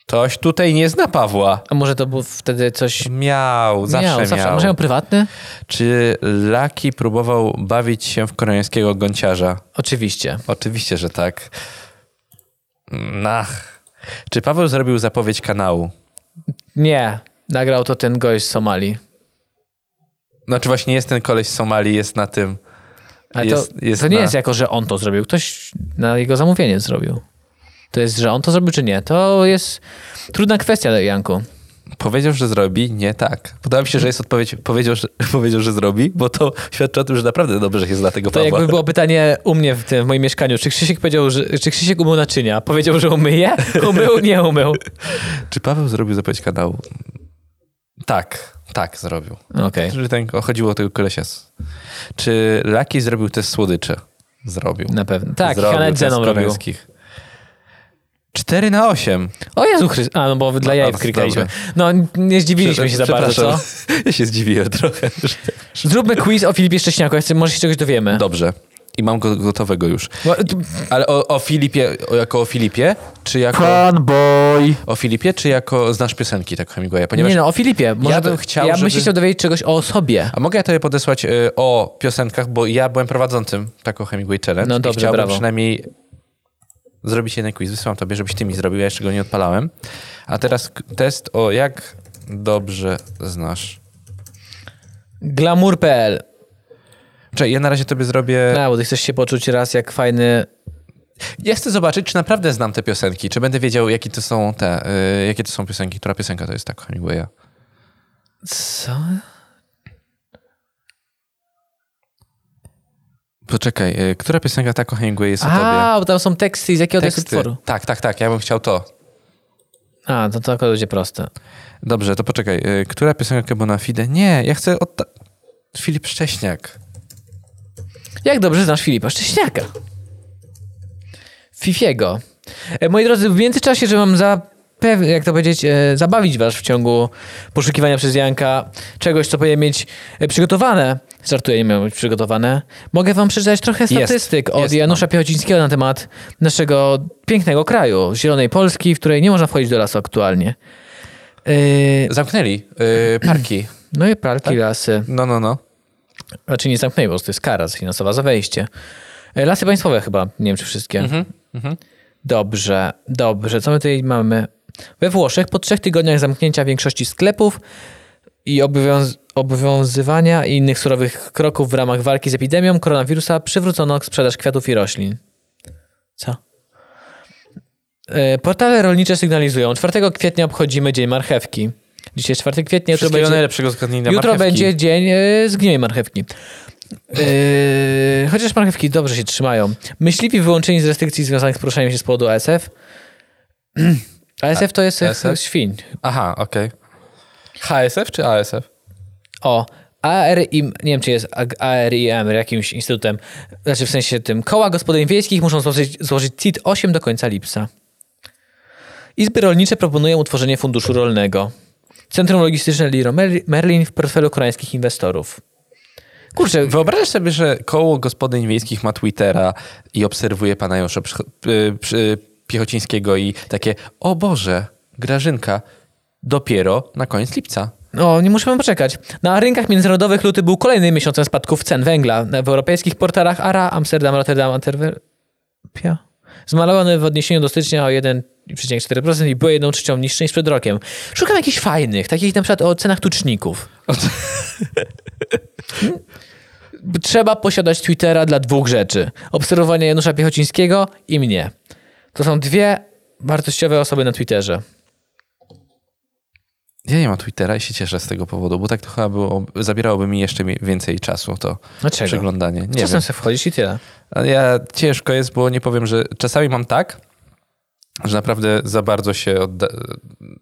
S2: Toś tutaj nie zna Pawła.
S1: A może to był wtedy coś...
S2: Miał, zawsze miał.
S1: miał, zawsze. Może miał prywatny?
S2: Czy Laki próbował bawić się w koreańskiego gąciarza?
S1: Oczywiście.
S2: Oczywiście, że tak. Nach. Czy Paweł zrobił zapowiedź kanału?
S1: Nie, nagrał to ten gość z Somalii.
S2: Znaczy właśnie jest ten koleś z Somalii, jest na tym.
S1: Ale
S2: Jest-
S1: to,
S2: jest
S1: to nie
S2: na-
S1: jest jako, że on to zrobił. Ktoś na jego zamówienie zrobił. To jest, że on to zrobił, czy nie? To jest trudna kwestia, Janku.
S2: Powiedział, że zrobi, nie tak. Podoba mi się, że jest odpowiedź, powiedział, że, powiedział, że zrobi, bo to świadczy o tym, że naprawdę dobrze jest dla tego
S1: To
S2: Pawła.
S1: jakby było pytanie u mnie w, tym, w moim mieszkaniu. Czy Krzysiek powiedział, że, czy Krzysiek umył naczynia? Powiedział, że umyje? Umył? Nie umył.
S2: Czy Paweł zrobił zapowiedź kanału? Tak, tak zrobił.
S1: Okej.
S2: Że ten, o, chodziło o tego kolesia. z- Czy Laki zrobił te słodycze? Zrobił.
S1: Na pewno. Tak,
S2: zrobił
S1: Hanę
S2: te z
S1: Zeną robił.
S2: koreańskich. 4 na 8.
S1: O Jezu Chryste. A, no bo dla jaj
S2: A,
S1: klikaliśmy. No, nie zdziwiliśmy się za bardzo, co?
S2: Ja się zdziwiłem trochę.
S1: Zróbmy quiz o Filipie Szcześniaku. Ja chcę- Może się czegoś dowiemy.
S2: Dobrze. I mam go gotowego już.
S1: No, d-
S2: Ale o, o Filipie, o, jako o Filipie, czy jako...
S1: Fanboy.
S2: O Filipie, czy jako znasz piosenki, tak Hemingwaya? Ponieważ...
S1: Nie no, o Filipie. Może
S2: Ja bym
S1: to-
S2: chciał,
S1: Ja bym się
S2: żeby-
S1: chciał dowiedzieć czegoś o sobie.
S2: A mogę ja tobie podesłać y, o piosenkach, bo ja byłem prowadzącym taką Hemingway Challenge
S1: No
S2: i
S1: dobrze,
S2: chciałbym
S1: brawo.
S2: przynajmniej zrobić jeden quiz. Wysłałem tobie, żebyś ty mi zrobił, ja jeszcze go nie odpalałem. A teraz k- test o jak dobrze znasz.
S1: Glamour.pl.
S2: Czekaj, ja na razie tobie zrobię...
S1: No, bo ty chcesz się poczuć raz jak fajny...
S2: Ja chcę zobaczyć, czy naprawdę znam te piosenki, czy będę wiedział, jakie to są te, y, jakie to są piosenki, która piosenka to jest tak Hemingwaya.
S1: Co?
S2: Poczekaj, y, która piosenka tak Hemingway jest o tobie?
S1: A, bo tam są teksty i z jakiego to jest utworu.
S2: Tak, tak, tak, ja bym chciał to.
S1: A, no to to akurat będzie proste.
S2: Dobrze, to poczekaj, y, która piosenka Bona Fide? Nie, ja chcę od... ta- Filip Szcześniak.
S1: Jak dobrze znasz Filipa Szcześniaka? Fifiego. E, Moi drodzy, w międzyczasie, że mam za pew- jak to powiedzieć, e, zabawić was w ciągu poszukiwania przez Janka czegoś, co powinien mieć e, przygotowane. Żartuję, nie miałem być przygotowane. Mogę wam przeczytać trochę statystyk od
S2: jest,
S1: Janusza Piechocińskiego na temat naszego pięknego kraju, zielonej Polski, w której nie można wchodzić do lasu aktualnie. E,
S2: Zamknęli y, parki.
S1: No i pralki, lasy.
S2: No, no, no.
S1: Znaczy nie zamknęli, bo to jest kara finansowa za wejście. E, Lasy państwowe chyba, nie wiem czy wszystkie.
S2: Mhm.
S1: Dobrze, dobrze. Co my tutaj mamy? We Włoszech po trzech tygodniach zamknięcia większości sklepów i obowiąz- obowiązywania i innych surowych kroków w ramach walki z epidemią koronawirusa przywrócono sprzedaż kwiatów i roślin. Co? E, Portale rolnicze sygnalizują. 4 kwietnia obchodzimy Dzień Marchewki. Dzisiaj jest 4 kwietnia. jutro
S2: Wszystkiego
S1: będzie-
S2: najlepszego zgodnienia
S1: Jutro będzie dzień y, zgniłej marchewki. Yy, chociaż marchewki dobrze się trzymają. Myśliwi wyłączeni z restrykcji związanych z poruszaniem się z powodu ASF. ASF to jest
S2: ASF?
S1: ASF? świń.
S2: Aha, okej. HSF czy ASF?
S1: O, ARIM, nie wiem czy jest ag- ARIM, jakimś instytutem, znaczy w sensie tym, koła gospodyń wiejskich muszą złożyć, złożyć CIT 8 do końca lipca. Izby rolnicze proponują utworzenie funduszu rolnego. Centrum logistyczne Liro Mer- Merlin w portfelu koreańskich inwestorów. Kurczę,
S2: Wyobraź sobie, że koło gospodyń wiejskich ma Twittera i obserwuje pana Josza Przy- y, Przy- Piechocińskiego i takie, o Boże, Grażynka, dopiero na koniec lipca.
S1: O, No, nie musimy poczekać. Na rynkach międzynarodowych luty był kolejnym miesiącem spadków cen węgla. W europejskich portalach ARA, Amsterdam, Rotterdam, Antwerpia zmalowany w odniesieniu do stycznia o 1,4% i były 1 trzecią niższy niż przed rokiem. Szukam jakichś fajnych, takich na przykład o cenach tuczników. Trzeba posiadać Twittera dla dwóch rzeczy. Obserwowania Janusza Piechocińskiego i mnie. To są dwie wartościowe osoby na Twitterze.
S2: Ja nie mam Twittera i się cieszę z tego powodu, bo tak to chyba było, zabierałoby mi jeszcze mi- więcej czasu to
S1: Dlaczego?
S2: przeglądanie. Nie
S1: No Czasem
S2: wiem.
S1: sobie wchodzisz i tyle.
S2: Ale Ja ciężko jest, bo nie powiem, że czasami mam tak, że naprawdę za bardzo się odda-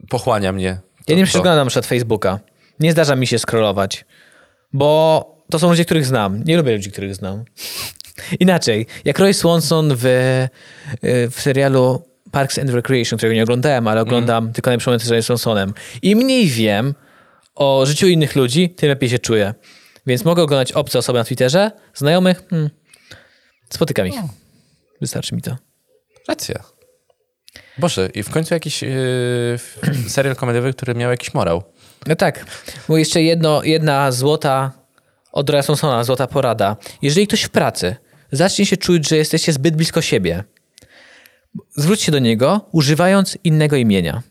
S2: pochłania mnie. to-
S1: Ja nie
S2: to.
S1: przeglądam na przykład Facebooka. Nie zdarza mi się scrollować, bo to są ludzie, których znam. Nie lubię ludzi, których znam. Inaczej, jak Roy Swanson w, y, w serialu Parks and Recreation, którego nie oglądałem, ale oglądam tylko najlepsze momenty z Roy Swansonem. Im mniej wiem o życiu innych ludzi, tym lepiej się czuję. Więc mogę oglądać obce osoby na Twitterze, znajomych, hmm. spotykam ich. Wystarczy mi to.
S2: Racja. Boże, i w końcu jakiś yy, serial komediowy, który miał jakiś morał.
S1: No tak. Bo jeszcze jedno, jedna złota od Roya Sonsona, złota porada. Jeżeli ktoś w pracy zacznie się czuć, że jesteście zbyt blisko siebie, zwróć się do niego, używając innego imienia.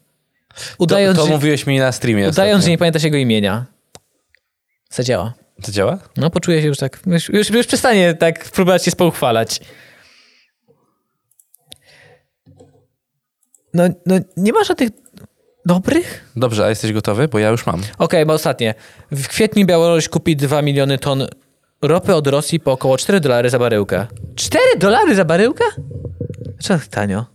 S1: Udając,
S2: to to
S1: że,
S2: mówiłeś mi na streamie.
S1: udając że
S2: ostatnio.
S1: nie pamiętasz jego imienia. Zadziała.
S2: To działa?
S1: No, poczuję się już tak. Już, już, już przestanie tak próbować się spouchwalać. No, no nie ma żadnych dobrych?
S2: Dobrze, a jesteś gotowy? Bo ja już mam.
S1: Okej, bo ostatnie. W kwietniu Białoruś kupi 2 miliony ton ropy od Rosji po około 4 dolary za baryłkę. 4 dolary za baryłkę? Czemu tak tanio?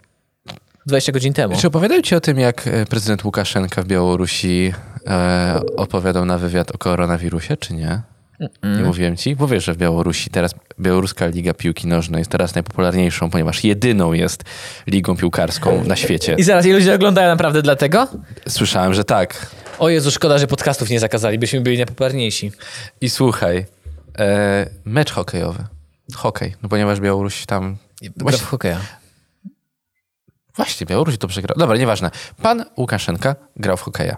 S1: 20 godzin temu.
S2: Czy opowiadał ci o tym, jak e, prezydent Łukaszenka w Białorusi e, opowiadał na wywiad o koronawirusie, czy nie? Nie mówiłem ci, bo wiesz, że w Białorusi teraz Białoruska Liga Piłki Nożnej jest teraz najpopularniejszą, ponieważ jedyną jest ligą piłkarską na świecie.
S1: I zaraz, i ludzie oglądają naprawdę dlatego?
S2: Słyszałem, że tak.
S1: O Jezu, szkoda, że podcastów nie zakazali, byśmy byli najpopularniejsi.
S2: I słuchaj, e, mecz hokejowy. Hokej, no ponieważ Białoruś tam.
S1: Właśnie...
S2: Właśnie,
S1: hokeja.
S2: właśnie Białoruś to przegrał. Dobra, nieważne. Pan Łukaszenka grał w hokeja.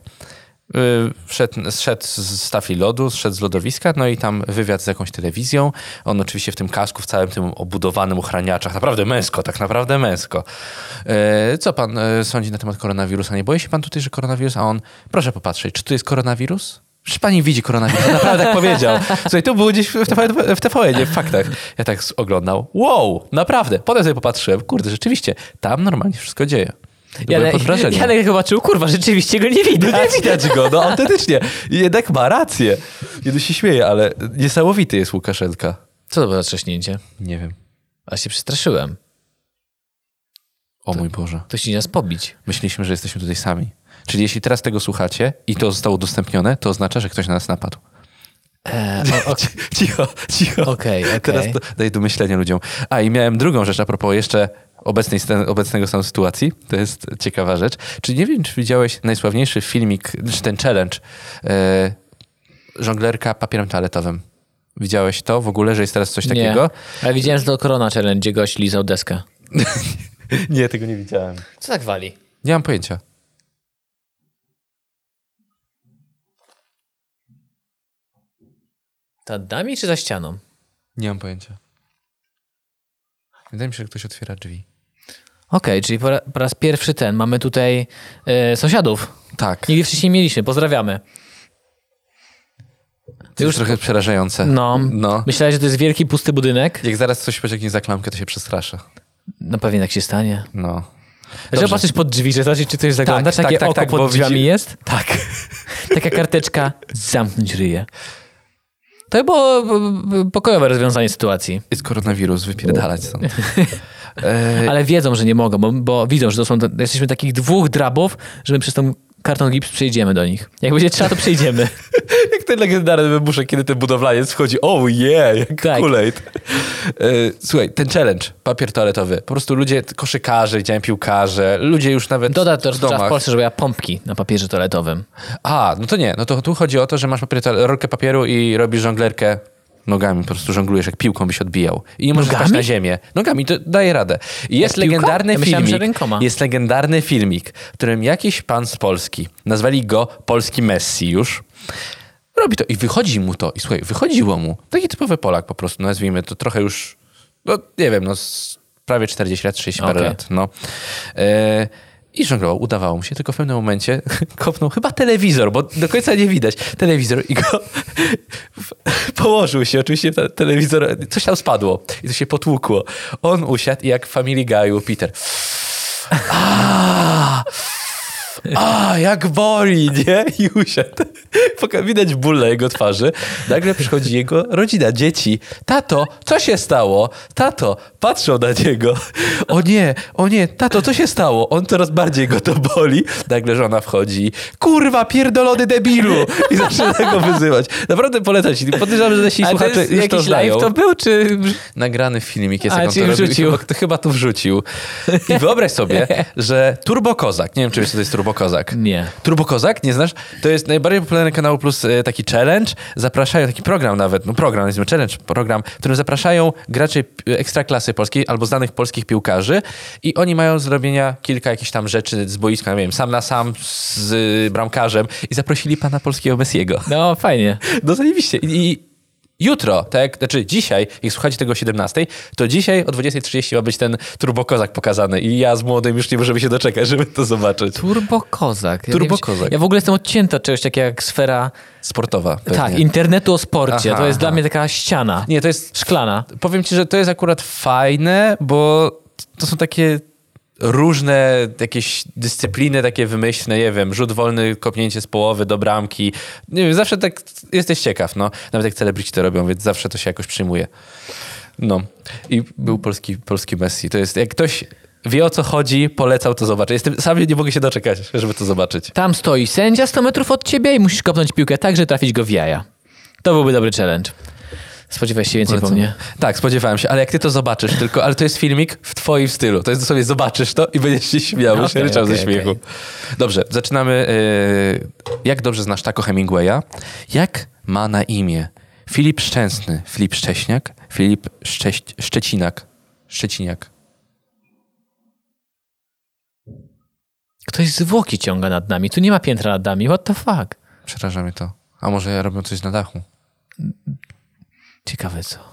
S2: Y, Wszedł, zszedł z stafli lodu, zszedł z lodowiska, no i tam wywiad z jakąś telewizją. On oczywiście w tym kasku, w całym tym obudowanym uchraniaczach. Naprawdę męsko, tak naprawdę męsko. E, Co pan e, sądzi na temat koronawirusa? Nie boi się pan tutaj, że koronawirus? A on, proszę popatrzeć, czy tu jest koronawirus? Czy pani widzi koronawirus? Naprawdę tak powiedział. Słuchaj, to było gdzieś w TVN, w TVN, nie w faktach. Ja tak oglądał. Wow, naprawdę. Potem sobie popatrzyłem. Kurde, rzeczywiście, tam normalnie wszystko dzieje. Byłem
S1: Janek,
S2: pod wrażeniem.
S1: Janek jak zobaczył, kurwa, rzeczywiście go nie widać.
S2: No nie widać go, no autentycznie. I Jednak ma rację. Jeden się śmieje, ale niesamowity jest Łukaszenka.
S1: Co to było za trzaśnięcie?
S2: Nie wiem.
S1: A się przestraszyłem.
S2: O mój Boże.
S1: Ktoś idzie nas pobić.
S2: Myśleliśmy, że jesteśmy tutaj sami. Czyli jeśli teraz tego słuchacie i to zostało udostępnione, to oznacza, że ktoś na nas napadł.
S1: E, o- o-
S2: Cicho, cicho.
S1: Okej, okej.
S2: Teraz to, daj do myślenia ludziom. A i miałem drugą rzecz a propos jeszcze obecnej, stan- obecnego stanu sytuacji. To jest ciekawa rzecz. Czy nie wiem, czy widziałeś najsławniejszy filmik, czy ten challenge, e, żonglerka papierem toaletowym. Widziałeś to w ogóle, że jest teraz coś takiego?
S1: Nie. Ale widziałem, że to Corona Challenge, gdzie gość lizał deskę.
S2: Nie, tego nie widziałem.
S1: Co tak wali?
S2: Nie mam pojęcia.
S1: Ta dami czy za ścianą?
S2: Nie mam pojęcia. Wydaje mi się, że ktoś otwiera drzwi.
S1: Okej, czyli po, ra- po raz pierwszy ten. Mamy tutaj e, sąsiadów.
S2: Tak.
S1: Nigdy wcześniej nie mieliśmy. Pozdrawiamy.
S2: To już trochę przerażające.
S1: No.
S2: no.
S1: Myślałeś, że to jest wielki, pusty budynek?
S2: Jak zaraz coś pociągnie za klamkę, to się przestraszę.
S1: No pewnie tak się stanie.
S2: No.
S1: Że patrzysz pod drzwi, że zobaczysz, czy ktoś zagląda,
S2: Tak,
S1: czy takie
S2: tak, tak,
S1: oko
S2: tak, bo
S1: pod drzwiami
S2: widzi-
S1: jest.
S2: Tak.
S1: Taka karteczka, zamknąć ryje. To by było b- b- pokojowe rozwiązanie sytuacji.
S2: Jest koronawirus, wypierdalać stąd. E,
S1: Ale wiedzą, że nie mogą, bo, bo widzą, że to są, jesteśmy takich dwóch drabów, że my przez tą karton gips przejdziemy do nich. Jak będzie trzeba, to przejdziemy.
S2: jak ten legendarny wybuszek, kiedy ten budowlaniec wchodzi, oh yeah, jak
S1: Tak.
S2: Kool-Aid. E, Słuchaj, ten challenge, papier toaletowy. Po prostu ludzie, koszykarze, widziałem piłkarze, ludzie już nawet
S1: Doda to,
S2: w
S1: że trzeba w
S2: domach.
S1: Polsce żeby ja pompki na papierze toaletowym.
S2: A, no to nie, no to tu chodzi o to, że masz papier, toale- rolkę papieru i robisz żonglerkę nogami, po prostu żonglujesz jak piłką byś odbijał. I nie możesz
S1: Nogami?
S2: paść na ziemię. Nogami, to daje radę. I jest
S1: piłką?
S2: legendarny
S1: Ja myślałem,
S2: filmik.
S1: że rękoma.
S2: Jest legendarny filmik, w którym jakiś pan z Polski, nazwali go Polski Messi już, robi to i wychodzi mu to. I słuchaj, wychodziło mu. Taki typowy Polak po prostu, nazwijmy to trochę już, no nie wiem, no z prawie 40 lat, 60 parę
S1: Okej.
S2: lat. No. E, I żonglował, udawało mu się, tylko w pewnym momencie kopnął chyba telewizor, bo do końca nie widać. Telewizor i go położył się, oczywiście ta- telewizor, coś tam spadło i to się potłukło. On usiadł i jak w Family Guy'u Peter. A, a, jak boli, nie? I usiadł. Poka- Widać ból na jego twarzy. Nagle przychodzi jego rodzina, dzieci. Tato, co się stało? Tato, patrzą na niego. O nie, o nie, tato, co się stało? On coraz bardziej go to boli. Nagle żona wchodzi. Kurwa, pierdolony debilu! I zaczyna go wyzywać. Naprawdę polecam ci. Podejrzewam, że nasi słuchacze już to znają.
S1: był, czy...
S2: Nagrany filmik jest,
S1: A,
S2: jak on
S1: czyli
S2: to robił.
S1: wrzucił.
S2: Chyba, to chyba to wrzucił. I wyobraź sobie, że Turbo Kozak, nie wiem, czy wiesz, co to jest Turbo Kozak.
S1: Nie.
S2: Turbo Kozak, nie znasz? To jest najbardziej popularny kanał plus e, taki challenge. Zapraszają, taki program nawet, no program, nazwijmy challenge, program, w którym zapraszają graczy p- ekstraklasy polskiej albo znanych polskich piłkarzy i oni mają do zrobienia kilka jakichś tam rzeczy z boiska, nie wiem, sam na sam z y, bramkarzem i zaprosili pana polskiego Messiego.
S1: No, fajnie.
S2: No zajebiście. I, i jutro, tak, znaczy dzisiaj, jak słuchacie tego o 17, to dzisiaj o 20.30 ma być ten turbokozak pokazany i ja z młodym już nie możemy się doczekać, żeby to zobaczyć.
S1: Turbo Kozak. Ja nie
S2: Turbo
S1: wiem, czy-
S2: Kozak.
S1: Ja w ogóle jestem odcięta od czegoś takiego jak sfera...
S2: Sportowa. Pewnie.
S1: Tak, internetu o sporcie.
S2: Aha,
S1: to jest
S2: aha.
S1: dla mnie taka ściana.
S2: Nie, to jest,
S1: Szklana.
S2: powiem ci, że to jest akurat fajne, bo to są takie różne jakieś dyscypliny takie wymyślne, nie wiem, rzut wolny, kopnięcie z połowy do bramki. Nie wiem, zawsze tak jesteś ciekaw, no. Nawet jak celebryci to robią, więc zawsze to się jakoś przyjmuje. No. I był polski, polski Messi. To jest, jak ktoś wie o co chodzi, polecał to zobaczyć. Jestem, sam nie mogę się doczekać, żeby to zobaczyć.
S1: Tam stoi sędzia 100 metrów od ciebie i musisz kopnąć piłkę tak, że trafić go w jaja. To byłby dobry challenge. Spodziewałeś się więcej po mnie?
S2: Tak, spodziewałem się, ale jak ty to zobaczysz tylko, ale to jest filmik w twoim stylu. To jest sobie zobaczysz to i będziesz się śmiał, okay, się
S1: Okej,
S2: ryczał ze
S1: okej,
S2: śmiechu. Dobrze, zaczynamy. y, jak dobrze znasz Taco Hemingwaya? Jak ma na imię? Filip Szczęsny, Filip Szcześniak, Filip Szcześ... Szczecinak. Szczeciniak.
S1: Ktoś zwłoki ciąga nad nami. Tu nie ma piętra nad nami. What the fuck?
S2: Przeraża mnie to. A może robią coś na dachu?
S1: Ciekawe co.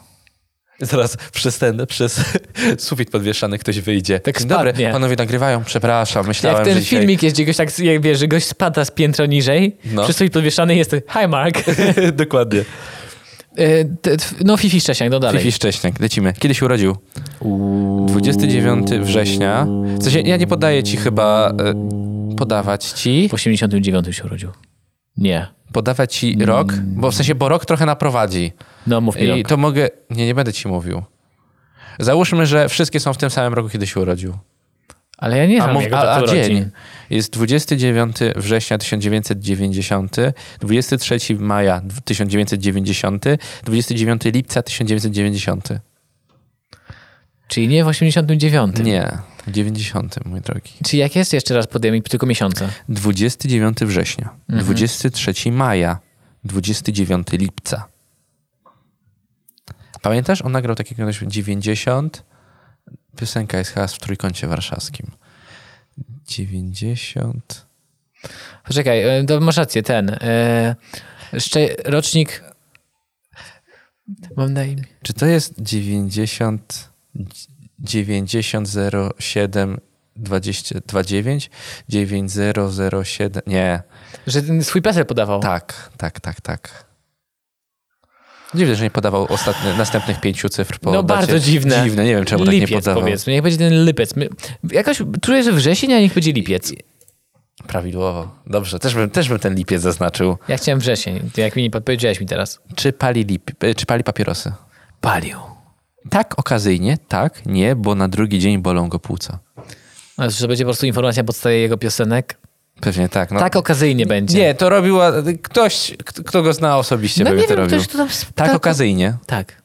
S2: Zaraz przez ten, przez sufit podwieszany ktoś wyjdzie.
S1: Tak
S2: Dobre,
S1: spadnie.
S2: panowie nagrywają, przepraszam, myślałem,
S1: Jak ten
S2: że dzisiaj...
S1: filmik jest, gdzie goś tak, jak wiesz, że gość spada z piętra niżej,
S2: No.
S1: no. przez coś podwieszany jest hi Mark.
S2: Dokładnie.
S1: E, te- tw- no Fifi Szczesiak, no dalej.
S2: Fifi Szcześniak, lecimy. Kiedy się urodził? 29 września. W sensie, ja nie podaję ci chyba... e, Podawać ci...
S1: W 89 się urodził. Nie.
S2: Podawać ci rok, bo w sensie, bo rok trochę naprowadzi.
S1: No mów mi
S2: I
S1: rok.
S2: to mogę... Nie, nie będę ci mówił. Załóżmy, że wszystkie są w tym samym roku, kiedy się urodził.
S1: Ale ja nie
S2: A,
S1: znam
S2: mów,
S1: jego
S2: a, a
S1: tatuaży.
S2: dzień jest 29 września 1990, 23 maja 1990, 29 lipca 1990.
S1: Czyli nie w 89.
S2: Nie, w 90, mój drogi.
S1: Czy jak jest jeszcze raz podejmik, tylko miesiące?
S2: 29 września, 23 maja, 29 lipca. Pamiętasz? On nagrał takiego 90. Piosenka jest chyba w trójkącie warszawskim. 90.
S1: Poczekaj, e, to masz rację, ten. E, szcze- rocznik. Mam na imię.
S2: Czy to jest 90 9007 20 29 9007 nie
S1: Że ten swój PESEL podawał.
S2: tak tak tak tak Dziwne, że nie podawał ostatnie, następnych pięciu cyfr po
S1: no
S2: dacie.
S1: bardzo dziwne.
S2: Dziwne, nie wiem czemu
S1: lipiec,
S2: tak nie podawał.
S1: powiedzmy, niech będzie ten lipiec. My, jakoś czuję, że wrzesień, a niech będzie lipiec.
S2: Prawidłowo. Dobrze, też bym, też bym ten lipiec zaznaczył.
S1: Ja chciałem wrzesień, jak mi nie podpowiedziałeś mi teraz.
S2: Czy pali, lip, e, czy pali papierosy?
S1: Palił.
S2: Tak, okazyjnie, tak, nie, bo na drugi dzień bolą go płuca.
S1: A że będzie po prostu informacja na podstawie jego piosenek?
S2: Pewnie tak. No.
S1: Tak okazyjnie będzie.
S2: Nie, to robiła ktoś, k- kto go zna osobiście,
S1: no
S2: pewnie
S1: nie
S2: to
S1: wiem,
S2: robił.
S1: ktoś to tam...
S2: Tak, okazyjnie.
S1: Tak.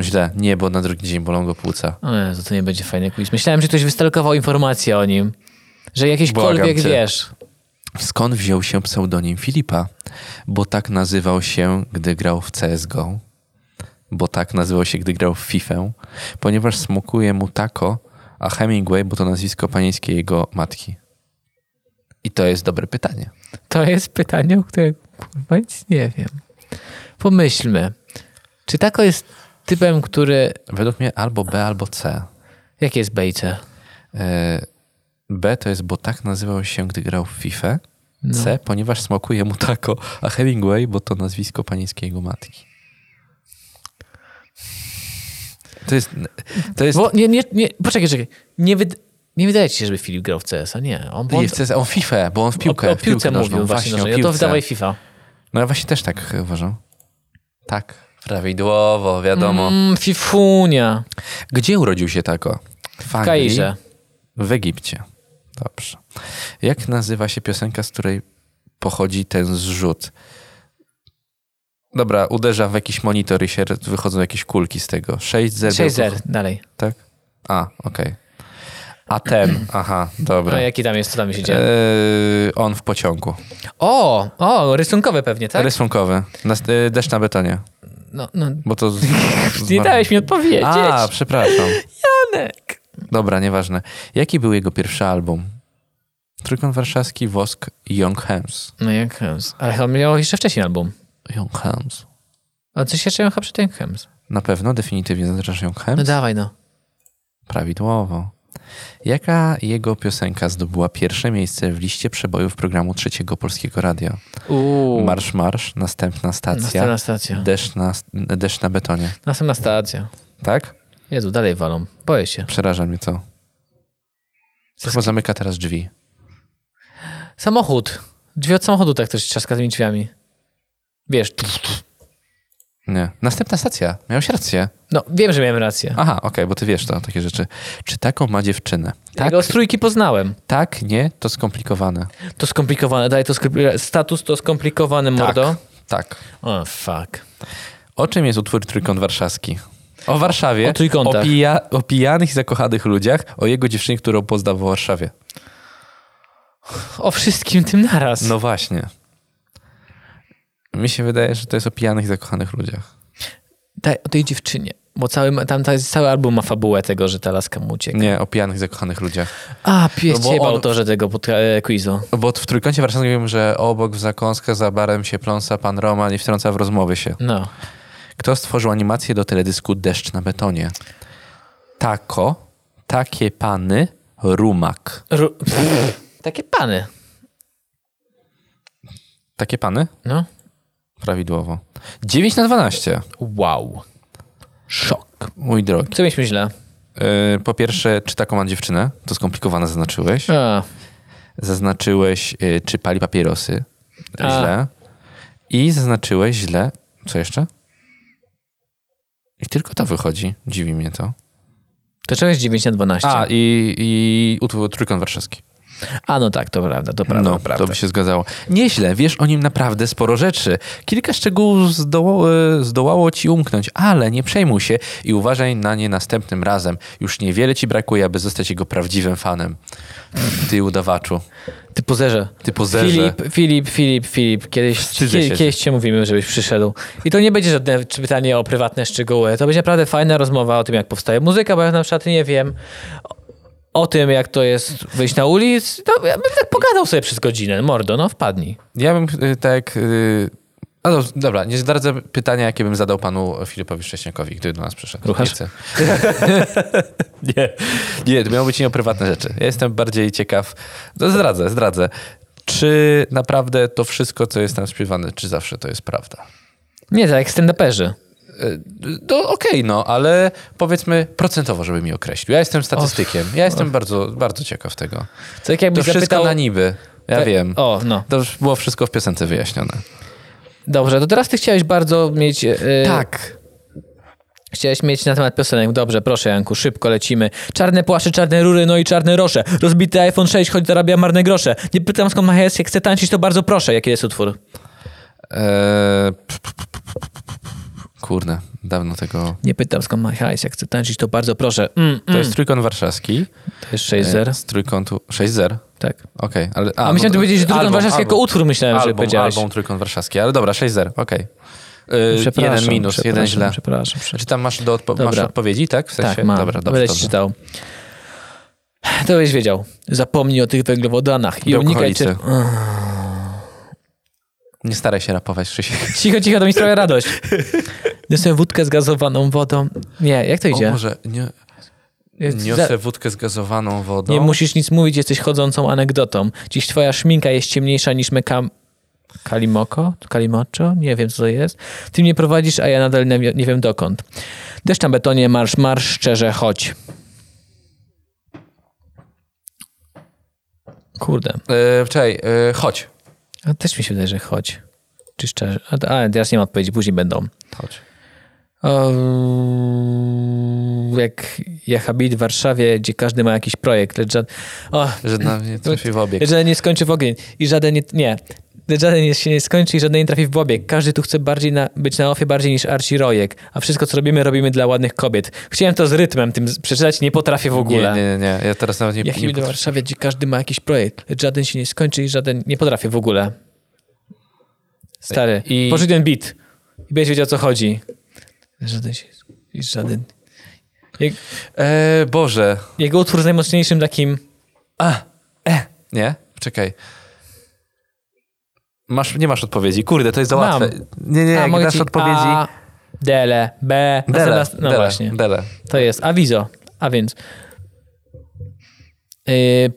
S2: Źle. Nie, bo na drugi dzień bolą go płuca.
S1: O Jezu, to nie będzie fajny quiz. Myślałem, że ktoś wystalkował informację o nim. Że jakiśkolwiek,
S2: Błagam cię.
S1: wiesz...
S2: Skąd wziął się pseudonim Filipa? Bo tak nazywał się, gdy grał w CSGO. Bo tak nazywał się, gdy grał w FIFA. Ponieważ smukuje mu tako, a Hemingway, bo to nazwisko panieńskie jego matki. I to jest dobre pytanie.
S1: To jest pytanie, o którego kurwa nic nie wiem. Pomyślmy. Czy Tako jest typem, który...
S2: Według mnie albo B, albo C.
S1: Jakie jest bejce?
S2: E, B to jest, bo tak nazywał się, gdy grał w FIFA.
S1: No.
S2: C, ponieważ smakuje mu tako, a Hemingway, bo to nazwisko panieńskie jego matki. To jest, to jest,
S1: Bo nie, nie, nie, poczekaj, czekaj. Nie, wyd... nie wydaje ci się, żeby Filip grał w CS-a, nie. On, on
S2: jest, to jest o FIFA, bo on w piłkę,
S1: o, o
S2: w
S1: piłce
S2: nożną,
S1: mówił właśnie.
S2: o
S1: właśnie no to
S2: piłce.
S1: wydawaj FIFA.
S2: No ja właśnie też tak uważam. Tak, prawidłowo, wiadomo.
S1: Mm, fifunia.
S2: Gdzie urodził się tako? W
S1: W
S2: Anglii?
S1: Kairze.
S2: W Egipcie. Dobrze. Jak nazywa się piosenka, z której pochodzi ten zrzut? Dobra, uderza w jakiś monitor i się re- wychodzą jakieś kulki z tego. 6-0.
S1: 6-0, dalej.
S2: Tak? A, okej. A ten, aha, dobra.
S1: No, jaki tam jest, co tam się dzieje?
S2: Eee, on w pociągu.
S1: O, o, rysunkowe pewnie, tak?
S2: Rysunkowy. Nas- e, deszcz na betonie.
S1: No, no,
S2: Bo to. z- z-
S1: nie dałeś mi odpowiedzieć.
S2: A, przepraszam.
S1: Janek.
S2: Dobra, nieważne. Jaki był jego pierwszy album? Trójkąt warszawski, Wosk, Young Hems.
S1: No jak Hems. Ale on miał jeszcze wcześniej album.
S2: Young Hems.
S1: A coś jeszcze miał chyba przed tym Hems.
S2: Na pewno, definitywnie zaznaczasz Young Hems?
S1: No dawaj, no.
S2: Prawidłowo. Jaka jego piosenka zdobyła pierwsze miejsce w liście przebojów programu Trzeciego Polskiego Radio?
S1: Uuu.
S2: Marsz, marsz, następna stacja,
S1: Następna stacja.
S2: deszcz na, deszcz na betonie.
S1: Następna stacja.
S2: Tak?
S1: Jezu, dalej walą. Boję się.
S2: Przeraża mnie to. Chyba zamyka teraz drzwi.
S1: Samochód. Drzwi od samochodu tak też trzaska tymi drzwiami. Wiesz. tf, tf.
S2: Nie. Następna stacja. Miałeś rację.
S1: No, wiem, że miałem rację.
S2: Aha, okej, bo ty wiesz to, takie rzeczy. Czy taką ma dziewczynę?
S1: Tak?
S2: Tak,
S1: Jego z trójki poznałem.
S2: tak, nie, to skomplikowane.
S1: To skomplikowane, daj to skompli- status to skomplikowany, mordo.
S2: Tak.
S1: O, fuck.
S2: O czym jest utwór Trójkąt Warszawski? O Warszawie,
S1: O trójkątach.
S2: o, pija, o pijanych i zakochanych ludziach, o jego dziewczynie, którą poznał w Warszawie.
S1: O wszystkim tym naraz.
S2: No właśnie. Mi się wydaje, że to jest o pijanych i zakochanych ludziach.
S1: Daj o tej dziewczynie. Bo cały, ma- tam ta, cały album ma fabułę tego, że ta laska mu ucieka.
S2: Nie, o pijanych i zakochanych ludziach.
S1: A, pies
S2: No bo
S1: ciebie,
S2: on-
S1: autorze tego podca- e, quizu.
S2: Bo w Trójkącie Warszawskim wiem, że obok w zakąskę za barem się pląsa pan Roman i wtrąca w rozmowy się.
S1: No.
S2: Kto stworzył animację do teledysku Deszcz na betonie? Tako, takie pany, rumak.
S1: Ru- Pff, takie pany.
S2: Takie pany?
S1: No.
S2: Prawidłowo. 9 na 12.
S1: Wow.
S2: Szok. Mój drogi.
S1: Co mieliśmy źle?
S2: Yy, po pierwsze, czy taką ma dziewczynę? To skomplikowane zaznaczyłeś.
S1: A,
S2: Zaznaczyłeś, yy, czy pali papierosy?
S1: A.
S2: Źle. I zaznaczyłeś źle. Co jeszcze? I tylko to wychodzi. Dziwi mnie to.
S1: to czego jest 9 na 12?
S2: A, i, i utwór Trójkąt Warszawski.
S1: A no tak, to prawda, to prawda.
S2: no,
S1: prawda.
S2: to by się zgadzało. Nieźle, wiesz o nim naprawdę sporo rzeczy. Kilka szczegółów zdołało, zdołało ci umknąć, ale nie przejmuj się i uważaj na nie następnym razem. Już niewiele ci brakuje, aby zostać jego prawdziwym fanem. Ty udawaczu,
S1: Ty pozerze.
S2: ty pozerze.
S1: Filip, Filip, Filip, Filip, kiedyś,
S2: Wstydzę
S1: kie-
S2: się.
S1: kiedyś cię mówimy, żebyś przyszedł. I to nie będzie żadne czy pytanie o prywatne szczegóły. To będzie naprawdę fajna rozmowa o tym, jak powstaje muzyka, bo ja na przykład nie wiem. O tym, jak to jest wyjść na ulicę. To ja bym tak pogadał sobie przez godzinę. Mordo, no wpadnij.
S2: Ja bym y, tak... y, A no, dobra, nie zdradzę pytania, jakie bym zadał panu Filipowi Szcześniakowi, gdyby do nas przyszedł.
S1: Ruchasz?
S2: Nie, chcę. nie, to miało być nie o prywatne rzeczy. Ja jestem bardziej ciekaw. No, zdradzę, zdradzę. Czy naprawdę to wszystko, co jest tam śpiewane, czy zawsze to jest prawda?
S1: Nie, tak jak stand-uperzy.
S2: Y, No okej, no, ale powiedzmy procentowo, żeby mi określił. Ja jestem statystykiem. Ja jestem bardzo, bardzo ciekaw tego.
S1: To jak jakbyś
S2: To wszystko
S1: zapytał...
S2: na niby. Ja
S1: Tak,
S2: wiem.
S1: O, no.
S2: To już było wszystko w piosence wyjaśnione.
S1: Dobrze, to teraz ty chciałeś bardzo mieć... e,
S2: Tak.
S1: Chciałeś mieć na temat piosenek. Dobrze, proszę Janku, szybko lecimy. Czarne płasze, czarne rury, no i czarne rosze. Rozbity iPhone 6, choć zarabia marne grosze. Nie pytam skąd ma jest, jak chcę tańczyć, to bardzo proszę. Jaki jest utwór?
S2: Eee, p- p- p- p- p- p- Kurde, dawno tego.
S1: Nie pytam skąd ma hajs, jak chcę tańczyć, to bardzo proszę. Mm,
S2: To jest trójkąt warszawski.
S1: to jest 6-0,
S2: Eee, Z trójkątu 6-0.
S1: Tak.
S2: Okej, ale.
S1: A,
S2: E, no
S1: myślałem,
S2: to-
S1: że powiedziałeś, że trójkąt
S2: album,
S1: warszawski jako
S2: album.
S1: utwór, myślałem, że
S2: album,
S1: powiedziałeś.
S2: Album trójkąt warszawski, ale dobra, 6-0, okej. Yy,
S1: Przepraszam,
S2: jeden minus,
S1: przepraszam,
S2: jeden źle.
S1: Przepraszam,
S2: Czy tam masz, do odpo- masz
S1: Dobra.
S2: odpowiedzi, tak? W sensie?
S1: Tak, mam.
S2: Dobra,
S1: Będę
S2: dobrze.
S1: ci
S2: dobrze.
S1: czytał. To byś wiedział. Zapomnij o tych węglowodanach i unikaj...
S2: Białkoholicy.
S1: Czy...
S2: Nie staraj się rapować, Krzysiek.
S1: Cicho, cicho, to mi sprawia radość. Niosę wódkę z gazowaną wodą. Nie, jak to
S2: O
S1: idzie?
S2: może, nie,
S1: Jest
S2: niosę wódkę z gazowaną wodą.
S1: Nie musisz nic mówić, jesteś chodzącą anegdotą. Dziś twoja szminka jest ciemniejsza niż meka... Kalimoko? Kalimocho? Nie wiem, co to jest. Ty mnie prowadzisz, a ja nadal nie, nie wiem dokąd. Deszcz na betonie, marsz, marsz, szczerze, chodź. Kurde.
S2: E, czekaj, e, chodź.
S1: A też mi się wydaje, że chodź. Czy szczerze? A, a teraz nie ma odpowiedzi, później będą.
S2: Chodź.
S1: O, jak ja habit w Warszawie, gdzie każdy ma jakiś projekt, lecz żaden, o,
S2: Że na mnie trafi w
S1: lecz
S2: obiekt.
S1: żaden nie skończy w ogień i żaden nie, nie, lecz żaden nie- się nie skończy i żaden nie trafi w bobieg. Każdy tu chce bardziej na, być na ofie bardziej niż Archie Rojek, a wszystko co robimy, robimy dla ładnych kobiet. Chciałem to z rytmem tym z- przeczytać, nie potrafię w
S2: Nie,
S1: ogóle.
S2: nie, nie, nie, ja teraz nawet nie,
S1: Jak
S2: nie
S1: mi do Warszawy, gdzie każdy ma jakiś projekt, lecz żaden się nie skończy i żaden nie potrafię w ogóle. Stary,
S2: I-
S1: I... pożyj ten beat i będziesz wiedział, o co chodzi. Żaden się... i Żaden... Je-
S2: E, Boże.
S1: Jego utwór z najmocniejszym takim...
S2: A, e. Nie? Czekaj. Masz, nie masz odpowiedzi. Kurde, to jest za
S1: Mam.
S2: łatwe. Nie, nie, jak
S1: mogę
S2: dasz
S1: ci-
S2: odpowiedzi...
S1: A, dele, B...
S2: Dele,
S1: następna- no
S2: dele,
S1: właśnie,
S2: Dele.
S1: to jest awizo. A więc... Yy...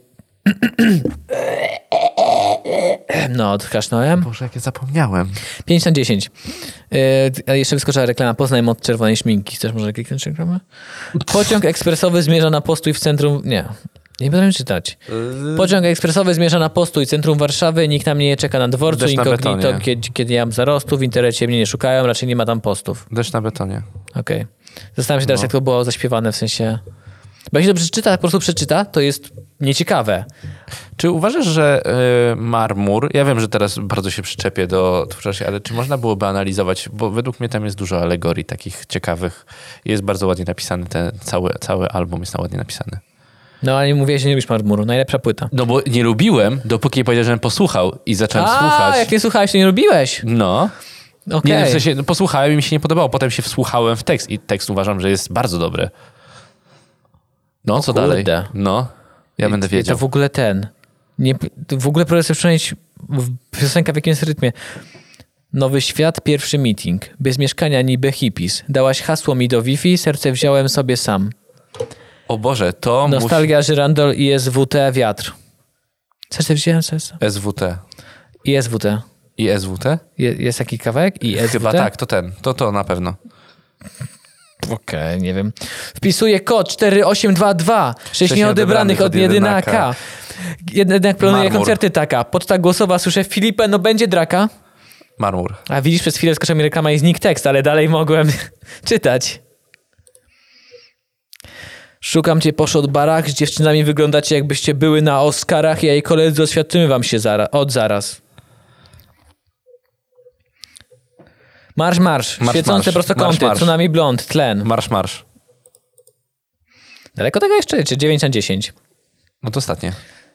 S1: No, odkasznąłem.
S2: Boże, jak ja zapomniałem.
S1: 5 na 10. Yy, a jeszcze wyskoczyła reklama. Poznaj moc czerwonej śminki. Chcesz może kliknąć reklamę? Pociąg ekspresowy zmierza na postój w centrum... Nie. Nie będę czytać.
S2: Yy,
S1: Pociąg ekspresowy zmierza na postój centrum Warszawy. Nikt na mnie nie czeka na dworcu.
S2: Deszcz na
S1: Inkognito,
S2: betonie.
S1: kiedy, kiedy ja mam zarostu. W internecie mnie nie szukają. Raczej nie ma tam postów.
S2: Deszcz na betonie.
S1: Okej. Zastanawiam się teraz,
S2: No.
S1: jak to było zaśpiewane w sensie... Bo jak się to przeczyta, po prostu przeczyta, to jest nieciekawe.
S2: Czy uważasz, że y, marmur, ja wiem, że teraz bardzo się przyczepię do twórczości, ale czy można byłoby analizować, bo według mnie tam jest dużo alegorii takich ciekawych. Jest bardzo ładnie napisany, ten cały, cały album jest ładnie napisany.
S1: No, ale nie mówię, że nie lubisz marmuru. Najlepsza płyta.
S2: No bo nie lubiłem, dopóki nie powiedziałem, że posłuchał i zacząłem
S1: A,
S2: słuchać.
S1: jak nie słuchałeś, to nie lubiłeś.
S2: No. Nie,
S1: Okej.
S2: w sensie no, posłuchałem i mi się nie podobało. Potem się wsłuchałem w tekst i tekst uważam, że jest bardzo dobry. No, co dalej?
S1: kurde.
S2: No, ja będę
S1: I- i
S2: wiedział.
S1: To w ogóle ten. Nie, to w ogóle próbuję sobie przypomnieć w- piosenka w jakim jest rytmie. Nowy świat, pierwszy meeting. Bez mieszkania niby hippies. Dałaś hasło mi do Wi-Fi, serce wziąłem sobie sam.
S2: O Boże, to musi...
S1: Nostalgia, żyrandol i SWT, wiatr. Serce wziąłem sobie sam.
S2: SWT.
S1: I SWT.
S2: I SWT?
S1: Je, jest taki kawałek? I SWT?
S2: Chyba tak, to ten. To to na pewno.
S1: Okej, nie wiem. Wpisuję kod 4822, 6 nieodebranych od jedynaka. Jednak planuję
S2: Marmur.
S1: koncerty taka. Poczta głosowa, słyszę Filipę, no będzie draka.
S2: Marmur.
S1: A widzisz, przez chwilę skoczyła mi reklama i znikł tekst, ale dalej mogłem czytać. Szukam cię poszedł barach, z dziewczynami wyglądacie jakbyście były na Oscarach, ja i koledzy oświadczymy wam się zara- od zaraz. Marsz, marsz,
S2: Marsz,
S1: świecące
S2: marsz. Marsz,
S1: prostokąty,
S2: marsz.
S1: co nami blond, tlen.
S2: Marsz, marsz.
S1: Daleko tego jeszcze, czy 9 na 10?
S2: No to ostatnie.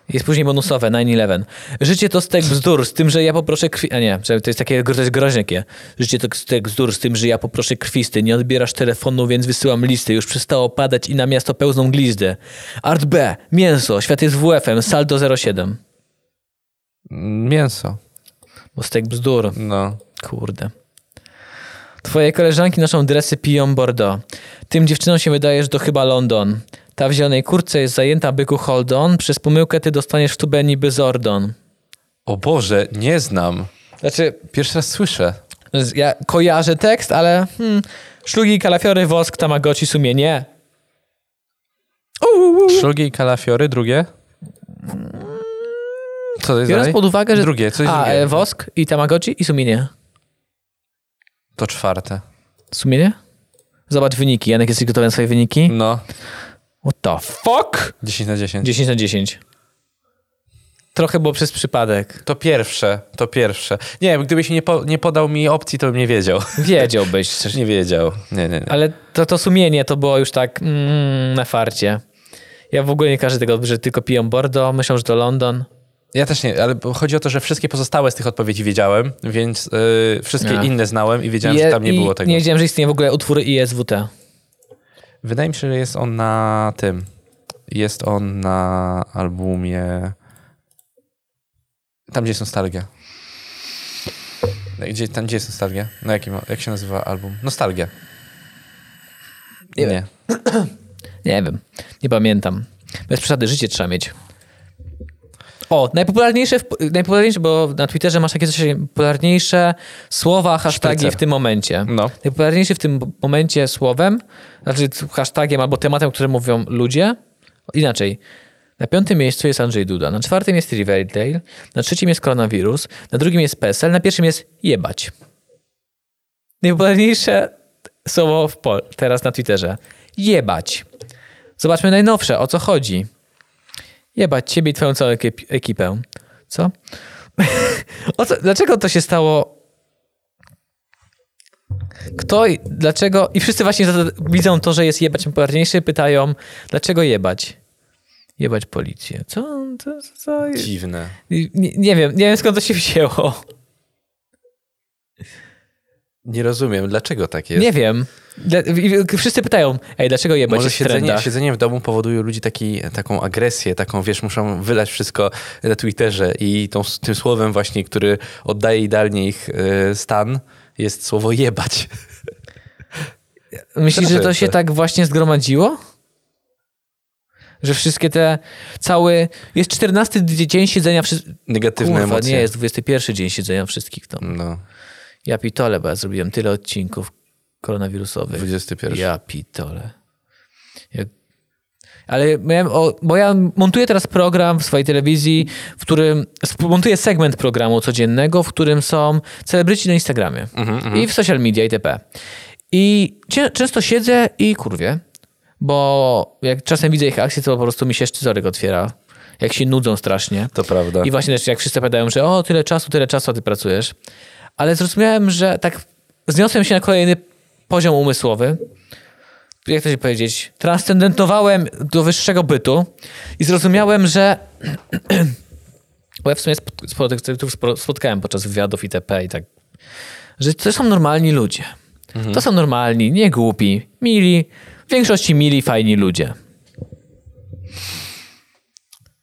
S1: Jest później bonusowe, 9-11. Życie to stek bzdur, z tym, że ja poproszę krwi... A nie, że to jest takie to jest groźne takie. Życie to stek bzdur, z tym, że ja poproszę krwisty. Nie odbierasz telefonu, więc wysyłam listy. Już przestało padać i na miasto pełzną glizdy. Art B, mięso, świat jest WF-em, saldo 07.
S2: Mm, Mięso.
S1: Bo stek bzdur,
S2: No.
S1: kurde. Twoje koleżanki noszą dresy piją Bordeaux. Tym dziewczynom się wydaje, że to chyba London. Ta w zielonej kurtce jest zajęta byku Holdon. Przez pomyłkę ty dostaniesz w tubę niby Zordon.
S2: O Boże, nie znam.
S1: Znaczy,
S2: Pierwszy raz słyszę.
S1: Z- Ja kojarzę tekst, ale hmm, szlugi, kalafiory, wosk, tamagoci, sumienie.
S2: Szlugi i kalafiory, drugie? Co to jest
S1: Biorąc
S2: dalej?
S1: pod uwagę, że...
S2: Drugie, coś
S1: A, e,
S2: drugiego.
S1: wosk i tamagoci i sumienie.
S2: To czwarte.
S1: Sumienie? Zobacz wyniki. Janek, jesteś gotowy na swoje wyniki?
S2: No,
S1: What the fuck?
S2: 10 na 10.
S1: 10 na 10. Trochę było przez przypadek.
S2: To pierwsze, to pierwsze. Nie, gdybyś nie, po, nie podał mi opcji, to bym nie wiedział.
S1: Wiedziałbyś.
S2: Też nie wiedział. Nie, nie, nie.
S1: Ale to, to sumienie to było już tak mm, na farcie. Ja w ogóle nie każę tego, że tylko piją Bordeaux, myślą, że to London.
S2: Ja też nie, ale chodzi o to, że wszystkie pozostałe z tych odpowiedzi wiedziałem, więc y, wszystkie
S1: Nie.
S2: inne znałem i wiedziałem,
S1: Je-
S2: że tam nie
S1: i
S2: było tego.
S1: Nie wiedziałem, że istnieje w ogóle utwór ISWT.
S2: Wydaje mi się, że jest on na tym. Jest on na albumie. Tam, gdzie jest nostalgia. Gdzie, tam, gdzie jest nostalgia? Na jakim, jak się nazywa album? Nostalgia.
S1: Nie
S2: Nie.
S1: Nie wiem, nie pamiętam. Bez przesady życie trzeba mieć. O, najpopularniejsze, w- najpopularniejsze, bo na Twitterze masz takie coś, najpopularniejsze słowa, hashtagi
S2: Szprycer.
S1: w tym momencie.
S2: No.
S1: Najpopularniejsze w tym momencie słowem, znaczy hashtagiem albo tematem, który mówią ludzie. Inaczej. Na piątym miejscu jest Andrzej Duda, na czwartym jest Riverdale, na trzecim jest koronawirus, na drugim jest PESEL, na pierwszym jest jebać. Najpopularniejsze słowo w pol teraz na Twitterze. Jebać. Zobaczmy najnowsze, o co chodzi. Jebać ciebie i twoją całą ekip- ekipę. Co? o co? Dlaczego to się stało? Kto, i- dlaczego? I wszyscy właśnie zada- widzą to, że jest jebać popularniejszy, pytają, dlaczego jebać? Jebać policję. Co? co, co, co?
S2: Dziwne.
S1: I- Nie, nie wiem, nie wiem skąd to się wzięło.
S2: Nie rozumiem, dlaczego tak jest.
S1: Nie wiem. Dla- i- i- Wszyscy pytają, ej, dlaczego jebać
S2: Może
S1: jest w
S2: siedzenie,
S1: trendach?
S2: siedzenie w domu powoduje u ludzi taki, taką agresję, taką, wiesz, muszą wylać wszystko na Twitterze i tą, tym słowem właśnie, który oddaje idealnie ich e, stan, jest słowo jebać.
S1: Myślisz, że to
S2: Trochę
S1: się
S2: tak.
S1: tak właśnie zgromadziło? Że wszystkie te cały. Jest 14 d- dzień siedzenia wszystkich.
S2: Negatywne
S1: Kurwa,
S2: emocje.
S1: nie, jest 21 dzień siedzenia wszystkich. To.
S2: No,
S1: Ja pitole, bo ja zrobiłem tyle odcinków koronawirusowych.
S2: 21.
S1: Ja pitole. Ja... Ale miałem, o, bo ja montuję teraz program w swojej telewizji, w którym sp- montuję segment programu codziennego, w którym są celebryci na Instagramie i w social media itp. I cię- często siedzę i kurwie, bo jak czasem widzę ich akcje, to po prostu mi się szczyzorek otwiera, jak się nudzą strasznie.
S2: To prawda.
S1: I właśnie też jak wszyscy padają, że o, tyle czasu, tyle czasu, a ty pracujesz. Ale zrozumiałem, że tak zniosłem się na kolejny poziom umysłowy. Jak to się powiedzieć? Transcendentowałem do wyższego bytu i zrozumiałem, że... Bo ja w sumie spot- sporo tych cytów spro- spotkałem podczas wywiadów itp. i tak, że to są normalni ludzie. To są normalni, nie głupi, mili, w większości mili, fajni ludzie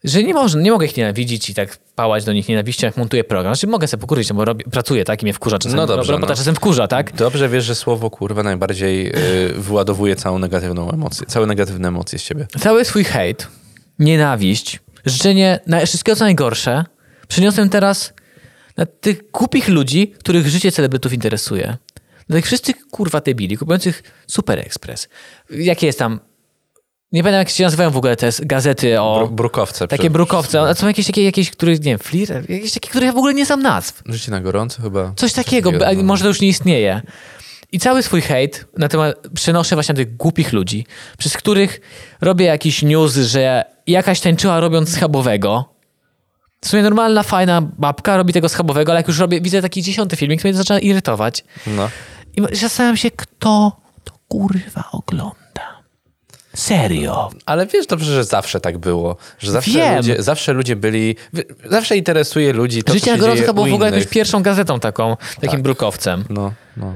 S1: że nie, można, nie mogę ich nienawidzić i tak pałać do nich nienawiścią, jak montuję program. Znaczy mogę sobie pokurzyć, no bo robię, pracuję, tak? I mnie wkurza czasem.
S2: No dobrze,
S1: Robota
S2: no.
S1: czasem wkurza, tak?
S2: Dobrze wiesz, że słowo kurwa najbardziej y, wyładowuje całą negatywną emocję, całe negatywne emocje z ciebie.
S1: Cały swój hejt, nienawiść, życzenie na wszystkiego co najgorsze przeniosłem teraz na tych głupich ludzi, których życie celebrytów interesuje. Na tych wszystkich kurwa debili, kupujących Super Express. Jakie jest tam... Nie pamiętam, jak się nazywają w ogóle te s- gazety o...
S2: Bru- brukowce.
S1: No. takie
S2: przed-
S1: brukowce. A są jakieś takie, jakieś, których, nie wiem, flir, jakieś takie, których ja w ogóle nie znam nazw.
S2: Życie na gorąco chyba.
S1: Coś takiego,
S2: takiego,
S1: a
S2: no.
S1: może to już nie istnieje. I cały swój hejt na temat przenoszę właśnie na tych głupich ludzi, przez których robię jakiś news, że jakaś tańczyła robiąc schabowego. W sumie normalna, fajna babka robi tego schabowego, ale jak już robię, widzę taki dziesiąty filmik, to mnie to zaczyna irytować.
S2: No.
S1: I ma- zastanawiam się, kto to kurwa ogląda. Serio.
S2: Ale wiesz dobrze, że zawsze tak było. Że zawsze,
S1: Wiem.
S2: ludzie, zawsze ludzie byli. wy- Zawsze interesuje ludzi to,
S1: Życie
S2: co się dzieje
S1: Nagrodka było
S2: u
S1: w ogóle
S2: innych. Tak.
S1: jakąś pierwszą gazetą taką, takim brukowcem.
S2: No, no.
S1: Ja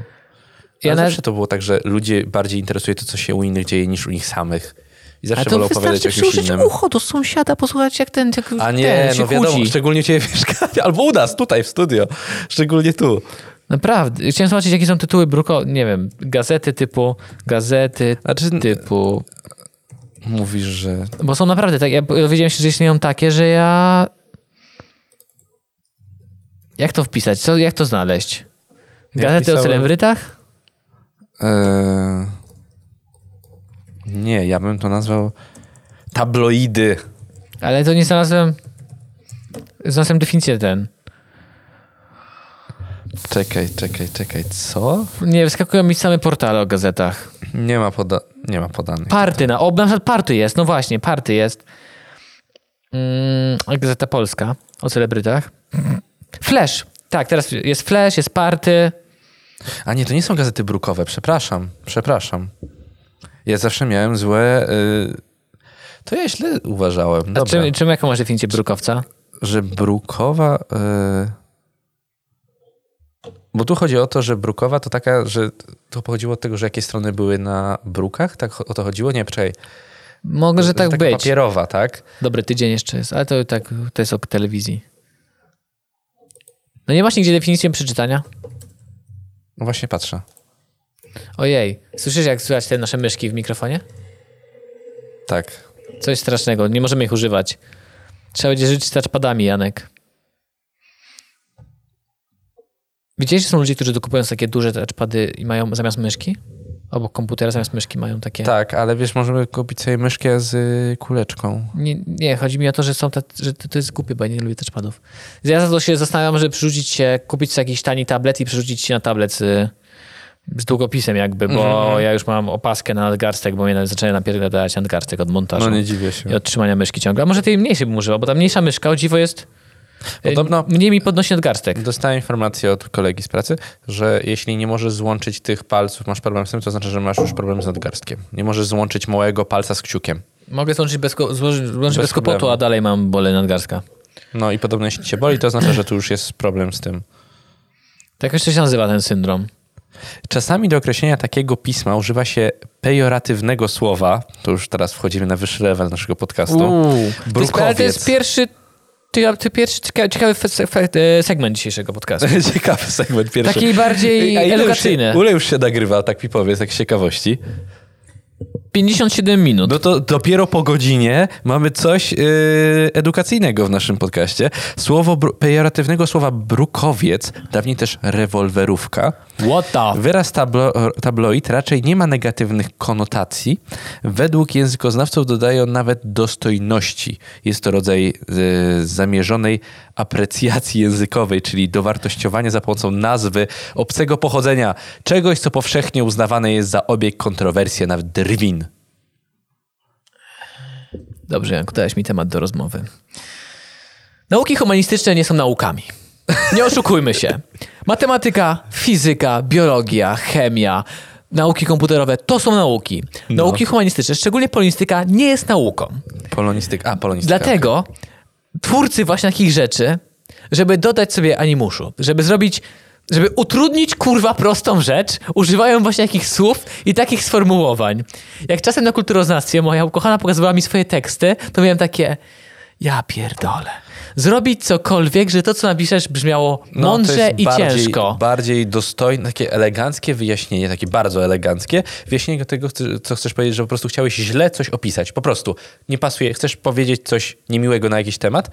S2: Ja
S1: nawet-
S2: zawsze to było tak, że ludzie bardziej interesuje to, co się u innych dzieje, niż u nich samych. I zawsze
S1: A to
S2: wolą opowiadać
S1: wystarczy
S2: o kimś
S1: przyłożyć
S2: innym.
S1: ucho do sąsiada, posłuchać jak ten, jak
S2: A nie,
S1: ten się
S2: no wiadomo,
S1: kłóci.
S2: szczególnie u ciebie w mieszkaniu, albo u nas, tutaj w studio. Szczególnie tu.
S1: Naprawdę. Chciałem zobaczyć, jakie są tytuły bruko, nie wiem, gazety typu, gazety
S2: Znaczy,
S1: typu.
S2: mówisz, że...
S1: Bo są naprawdę tak, ja dowiedziałem się, że istnieją takie, że ja... Jak to wpisać? Co, jak to znaleźć? Gazety o
S2: pisałem-
S1: celebrytach?
S2: e, Nie, ja bym to nazwał tabloidy.
S1: Ale to nie znalazłem... Znalazłem definicję ten.
S2: Czekaj, czekaj, czekaj, co?
S1: Nie, wyskakują mi same portale o gazetach.
S2: Nie ma, poda... nie ma podanych.
S1: Party, na, o, na przykład party jest, no właśnie, party jest. Mm, Gazeta Polska o celebrytach. Flash, tak, teraz jest Flash, jest party.
S2: A nie, to nie są gazety brukowe, przepraszam, przepraszam. Ja zawsze miałem złe... y, To ja źle uważałem,
S1: A
S2: Dobra,
S1: czym, czym jaką masz definicję brukowca?
S2: że brukowa... y, Bo tu chodzi o to, że brukowa to taka, że to pochodziło od tego, że jakie strony były na brukach, tak o to chodziło? Nie, czekaj.
S1: Mogę, że tak
S2: taka
S1: być.
S2: papierowa, tak?
S1: Dobry tydzień jeszcze jest, ale to tak, to jest o telewizji. No nie masz nigdzie definicji przeczytania?
S2: No właśnie patrzę.
S1: Ojej, słyszysz jak słychać te nasze myszki w mikrofonie?
S2: Tak.
S1: Coś strasznego, nie możemy ich używać. Trzeba będzie żyć z touchpadami, Janek. Widzieliście, że są ludzie, którzy dokupują sobie takie duże touchpady i mają zamiast myszki? Obok komputera zamiast myszki mają takie...
S2: Tak, ale wiesz, możemy kupić sobie myszkę z y, kuleczką.
S1: Nie, nie, chodzi mi o to, że, są te, że to, to jest głupie, bo ja nie lubię touchpadów. Ja za to się zastanawiam, żeby przerzucić się, kupić sobie jakiś tani tablet i przerzucić się na tablet z, z długopisem jakby, bo
S2: Mhm.
S1: ja już mam opaskę na nadgarstek, bo mnie na- zaczyna napierdalać nadgarstek od montażu.
S2: No nie dziwię się.
S1: i odtrzymania myszki ciągle. A może tej mniejszej bym używał, bo ta mniejsza myszka, o dziwo jest... e,
S2: Podobno-
S1: Mniej mi podnosi nadgarstek.
S2: Dostałem informację od kolegi z pracy, że jeśli nie możesz złączyć tych palców, masz problem z tym, to znaczy, że masz już problem z nadgarstkiem. Nie możesz złączyć małego palca z kciukiem.
S1: Mogę złączyć bez, ko- złożyć, złączyć bez,
S2: Bez
S1: kłopotu,
S2: problemu.
S1: a dalej mam bolę nadgarstka.
S2: No i podobno jeśli cię boli, to znaczy, że tu już jest problem z tym.
S1: Tak jeszcze się nazywa ten syndrom.
S2: Czasami do określenia takiego pisma używa się pejoratywnego słowa. To już teraz wchodzimy na wyższy level naszego podcastu.
S1: To jest, ale to jest
S2: Brukowiec.
S1: pierwszy, ty, ty pierwszy cieka- ciekawy fe, fe, e, segment dzisiejszyego podcastu.
S2: Ciekawy segment pierwszy.
S1: Taki bardziej
S2: A ile już
S1: edukacyjny.
S2: Się, ile już się nagrywa, tak mi powiedz, tak z ciekawości.
S1: 57 minut.
S2: No to dopiero po godzinie mamy coś yy, edukacyjnego w naszym podcaście. Słowo bru- pejoratywnego słowa brukowiec, dawniej też rewolwerówka.
S1: What the f-
S2: Wyraz tablo- tabloid raczej nie ma negatywnych konotacji. Według językoznawców dodaje on nawet dostojności. Jest to rodzaj yy, zamierzonej aprecjacji językowej, czyli dowartościowania za pomocą nazwy obcego pochodzenia, czegoś, co powszechnie uznawane jest za obieg kontrowersji, a nawet drwin.
S1: Dobrze, Janku, dałeś mi temat do rozmowy. Nauki humanistyczne nie są naukami. Nie oszukujmy się. Matematyka, fizyka, biologia, chemia, nauki komputerowe to są nauki. Nauki humanistyczne, szczególnie polonistyka, nie jest nauką.
S2: Polonistyka. A, polonistyka.
S1: Dlatego twórcy właśnie takich rzeczy, żeby dodać sobie animuszu, żeby zrobić, żeby utrudnić kurwa prostą rzecz, używają właśnie takich słów i takich sformułowań. Jak czasem na kulturoznawstwie moja ukochana pokazywała mi swoje teksty, to miałem takie, ja pierdolę. Zrobić cokolwiek, że to, co napiszesz, brzmiało
S2: No, to
S1: mądrze
S2: jest
S1: i
S2: bardziej,
S1: ciężko.
S2: Bardziej dostojne, takie eleganckie wyjaśnienie, takie bardzo eleganckie. Wyjaśnienie tego, chce- co chcesz powiedzieć, że po prostu chciałeś źle coś opisać. Po prostu nie pasuje, chcesz powiedzieć coś niemiłego na jakiś temat,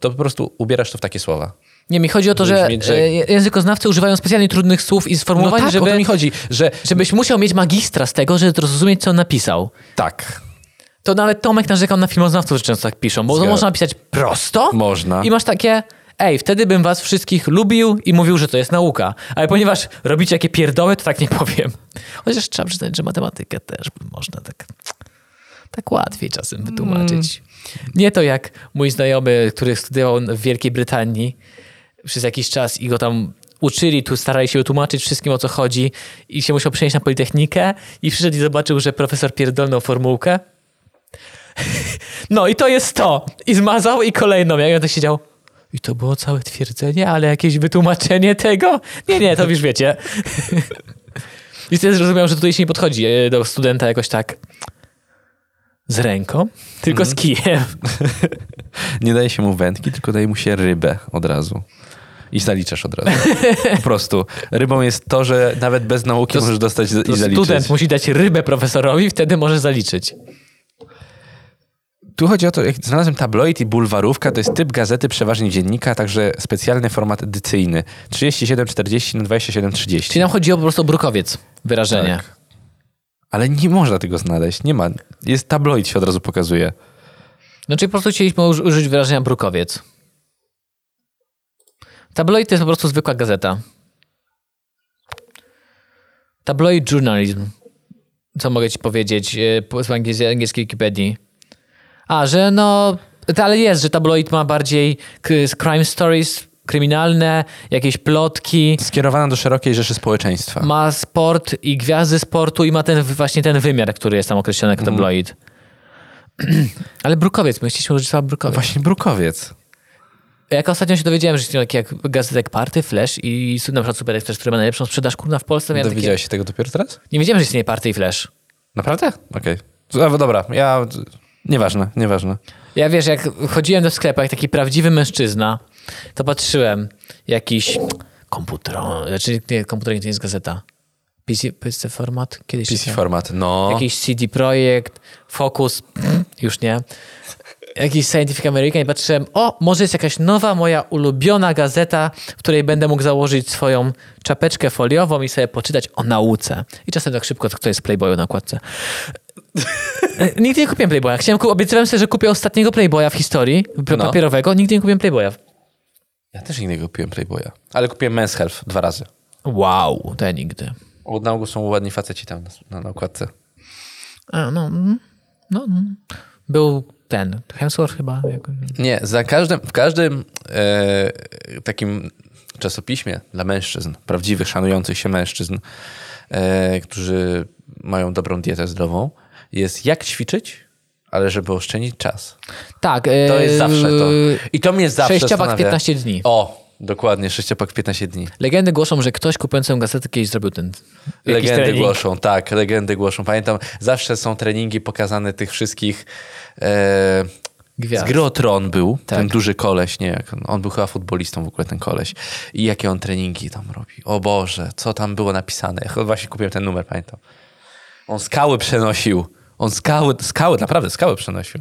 S2: to po prostu ubierasz to w takie słowa.
S1: Nie, mi chodzi o to,
S2: Żeby
S1: że
S2: mieć, że-
S1: e, językoznawcy używają specjalnie trudnych słów i
S2: No
S1: sformułowań,
S2: tak, o
S1: żeby,
S2: to mi chodzi, że
S1: żebyś musiał mieć magistra z tego, żeby zrozumieć, co on napisał.
S2: tak,
S1: To nawet Tomek narzekał na filmoznawców, że często tak piszą, bo
S2: Zgadza-
S1: można pisać prosto
S2: Można.
S1: i masz takie, ej, wtedy bym was wszystkich lubił i mówił, że to jest nauka. Ale ponieważ robicie jakie pierdoły, to tak nie powiem. Chociaż trzeba przyznać, że matematykę też można tak, tak łatwiej czasem wytłumaczyć. Nie to jak mój znajomy, który studiował w Wielkiej Brytanii przez jakiś czas i go tam uczyli, tu starali się tłumaczyć wszystkim o co chodzi i się musiał przenieść na Politechnikę i przyszedł i zobaczył, że profesor pierdolnął formułkę. No i to jest to. I zmazał i kolejną. Ja ja tak siedział. I to było całe twierdzenie, ale jakieś wytłumaczenie tego? Nie, nie, to już wiecie. I wtedy zrozumiałem, że tutaj się nie podchodzi e, do studenta jakoś tak z ręką, tylko
S2: Mhm.
S1: z kijem.
S2: Nie daje się mu wędki, tylko daje mu się rybę od razu. I zaliczasz od razu. Po prostu. Rybą jest to, że nawet bez nauki
S1: To s-
S2: możesz dostać i
S1: To
S2: zaliczyć.
S1: No, student musi dać rybę profesorowi, wtedy może zaliczyć.
S2: Tu chodzi o to, jak znalazłem tabloid i bulwarówka, to jest typ gazety, przeważnie dziennika, a także specjalny format edycyjny. 3740 na 2730.
S1: Czyli nam chodzi o po prostu brukowiec, wyrażenie.
S2: Tak. Ale nie można tego znaleźć, nie ma. Jest tabloid się od razu pokazuje.
S1: No czyli po prostu chcieliśmy uż- użyć wyrażenia brukowiec. Tabloid to jest po prostu zwykła gazeta. Tabloid journalism. Co mogę ci powiedzieć e, po- z angiel- z angielskiej Wikipedii? A, że no... to Ale jest, że tabloid ma bardziej k- crime stories, kryminalne, jakieś plotki,
S2: Skierowana do szerokiej rzeszy społeczeństwa.
S1: ma sport i gwiazdy sportu i ma ten właśnie ten wymiar, który jest tam określony jako tabloid. Ale brukowiec, my chcieliśmy użyć słowa brukowiec.
S2: Właśnie brukowiec.
S1: Jak ostatnio się dowiedziałem, że istnieją takie jak gazetek Party, Flash i na przykład Super Express, który ma najlepszą sprzedaż, kurna, w Polsce. Miałem takie...
S2: Dowiedziałeś się tego dopiero teraz?
S1: Nie wiedziałem, że istnieje Party i Flash.
S2: Naprawdę? Okej. Okay. Dobra, ja... Nieważne, nieważne.
S1: Ja wiesz, jak chodziłem do sklepu jak taki prawdziwy mężczyzna, to patrzyłem jakiś komputer, znaczy nie, komputer nie, to nie jest gazeta. PC, PC format? Kiedyś się
S2: PC format, no.
S1: jakiś CD Projekt, Focus, już nie, jakiś Scientific American i patrzyłem, o, może jest jakaś nowa moja ulubiona gazeta, w której będę mógł założyć swoją czapeczkę foliową i sobie poczytać o nauce. I czasem tak szybko, kto jest w Playboyu na okładce. E, nigdy nie kupiłem Playboya. Chciałem, ku- obiecywałem sobie, że kupię ostatniego Playboya w historii, p-
S2: No.
S1: papierowego. Nigdy nie kupiłem Playboya.
S2: Ja też nigdy nie kupiłem Playboya. Ale kupiłem Men's Health dwa razy.
S1: Wow, to ja nigdy.
S2: Od nauku są ładni faceci tam na, na, na okładce.
S1: A, no, mm, no, mm. Był ten, Hemsworth chyba. jak-
S2: Nie, za każdym, w każdym e, takim czasopiśmie dla mężczyzn, prawdziwych, szanujących się mężczyzn, e, którzy mają dobrą dietę zdrową, jest jak ćwiczyć, ale żeby oszczędzić czas.
S1: Tak.
S2: To jest zawsze to. I to mnie zawsze
S1: Sześciopak
S2: zastanawia.
S1: 15 dni.
S2: O, dokładnie, sześciopak 15 dni.
S1: Legendy głoszą, że ktoś kupując tę gazetę kiedyś zrobił ten jakiś
S2: Legendy
S1: trening.
S2: głoszą, tak, legendy głoszą. Pamiętam, zawsze są treningi pokazane tych wszystkich. E,
S1: Gwiazd. Tak.
S2: z gry o Tron był, ten duży koleś, nie jak on, on był chyba futbolistą w ogóle, ten koleś. I jakie on treningi tam robi. O Boże, co tam było napisane. Ja chyba właśnie kupiłem ten numer, pamiętam. On skały przenosił. On skały, skały, naprawdę skały przenosił.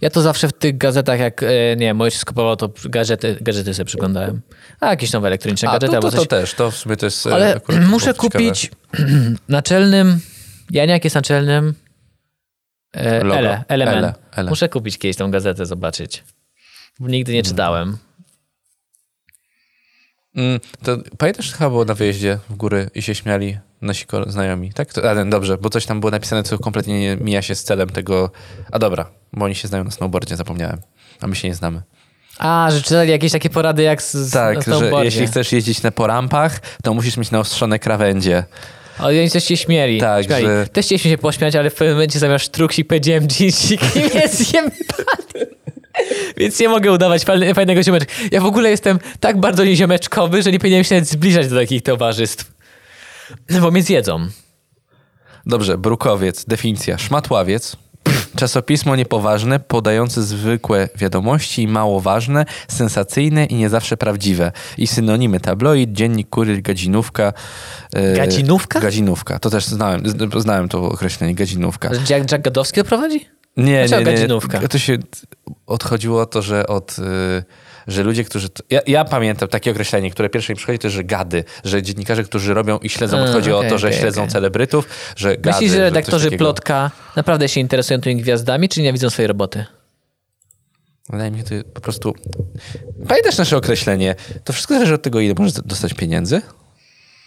S1: Ja to zawsze w tych gazetach, jak e, nie wiem, moje się skupowało, to gadżety, gadżety sobie przeglądałem. A jakieś nowe elektroniczne
S2: A to,
S1: gadżety
S2: to,
S1: albo
S2: to,
S1: coś.
S2: też, to w sumie to jest... e,
S1: Ale
S2: akurat
S1: muszę
S2: było
S1: kupić naczelnym, Janiak jest naczelnym, e,
S2: Logo.
S1: Ele, element.
S2: Ele, Ele. No.
S1: Muszę kupić kiedyś tą gazetę, zobaczyć. Bo Nigdy nie czytałem.
S2: Mm, to pamiętasz, chyba było na wyjeździe w góry i się śmiali nasi kole- znajomi, tak? To, ale dobrze, bo coś tam było napisane, co kompletnie nie mija się z celem tego... A dobra, bo oni się znają na snowboardzie, zapomniałem. A my się nie znamy.
S1: A, że czytali jakieś takie porady jak z
S2: Tak,
S1: na
S2: że
S1: snowboardzie.
S2: jeśli chcesz jeździć na porampach, to musisz mieć naostrzone krawędzie.
S1: Ale oni też się śmieli.
S2: Tak,
S1: śmiali.
S2: że-
S1: Też chcieliśmy się pośmiać, ale w pewnym momencie zamiast truksik powiedziałem dżinsik i mnie zjebali. Więc nie mogę udawać fajne- fajnego ziomeczka. Ja w ogóle jestem tak bardzo nieziomeczkowy, że nie powinienem się nawet zbliżać do takich towarzystw. No Bo mnie zjedzą.
S2: Dobrze, brukowiec, definicja. Szmatławiec, czasopismo niepoważne, podające zwykłe wiadomości, mało ważne, sensacyjne i nie zawsze prawdziwe. I synonimy tabloid, dziennik, kuryl, gadzinówka. e,
S1: Gadzinówka?
S2: Gadzinówka, to też znałem, z- znałem to określenie, gadzinówka.
S1: Że Jack, Jack Gadowski to prowadzi?
S2: Nie,
S1: Dlaczego
S2: nie, nie.
S1: gadzinówka?
S2: To się odchodziło o to, że od... y, Że ludzie, którzy. t- Ja, ja pamiętam takie określenie, które pierwsze mi przychodzi, to że gady, że dziennikarze, którzy robią i śledzą,
S1: A,
S2: odchodzi
S1: okej,
S2: o to, że
S1: okej,
S2: śledzą
S1: okej.
S2: celebrytów, że gady.
S1: Myślisz, że
S2: coś
S1: redaktorzy
S2: takiego.
S1: Plotka naprawdę się interesują tymi gwiazdami, czy nie widzą swojej roboty?
S2: Wydaje mi się, to po prostu... Pamiętasz nasze określenie? To wszystko zależy od tego, ile możesz dostać pieniędzy.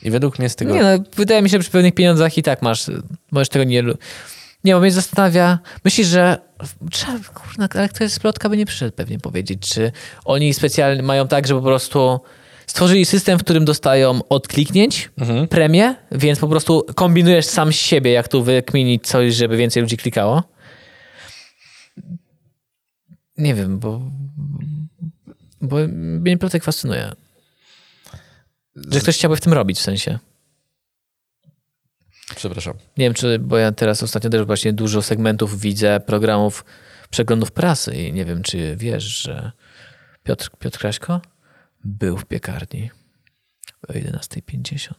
S2: I według mnie z tego...
S1: Nie no, wydaje mi się, że przy pewnych pieniądzach i tak masz, możesz tego nie... lu- Nie, bo mnie zastanawia, myślisz, że trzeba, kurna, ale kto jest z plotka, by nie przyszedł pewnie powiedzieć, czy oni specjalnie mają tak, że po prostu stworzyli system, w którym dostają od kliknięć premię, więc po prostu kombinujesz sam z siebie, jak tu wykminić coś, żeby więcej ludzi klikało? Nie wiem, bo, bo mnie plotek fascynuje. Że ktoś chciałby w tym robić w sensie.
S2: Przepraszam.
S1: Nie wiem, czy, bo ja teraz ostatnio też właśnie dużo segmentów widzę, programów, przeglądów prasy i nie wiem, czy wiesz, że Piotr, Piotr Kraśko był w piekarni o 11.50,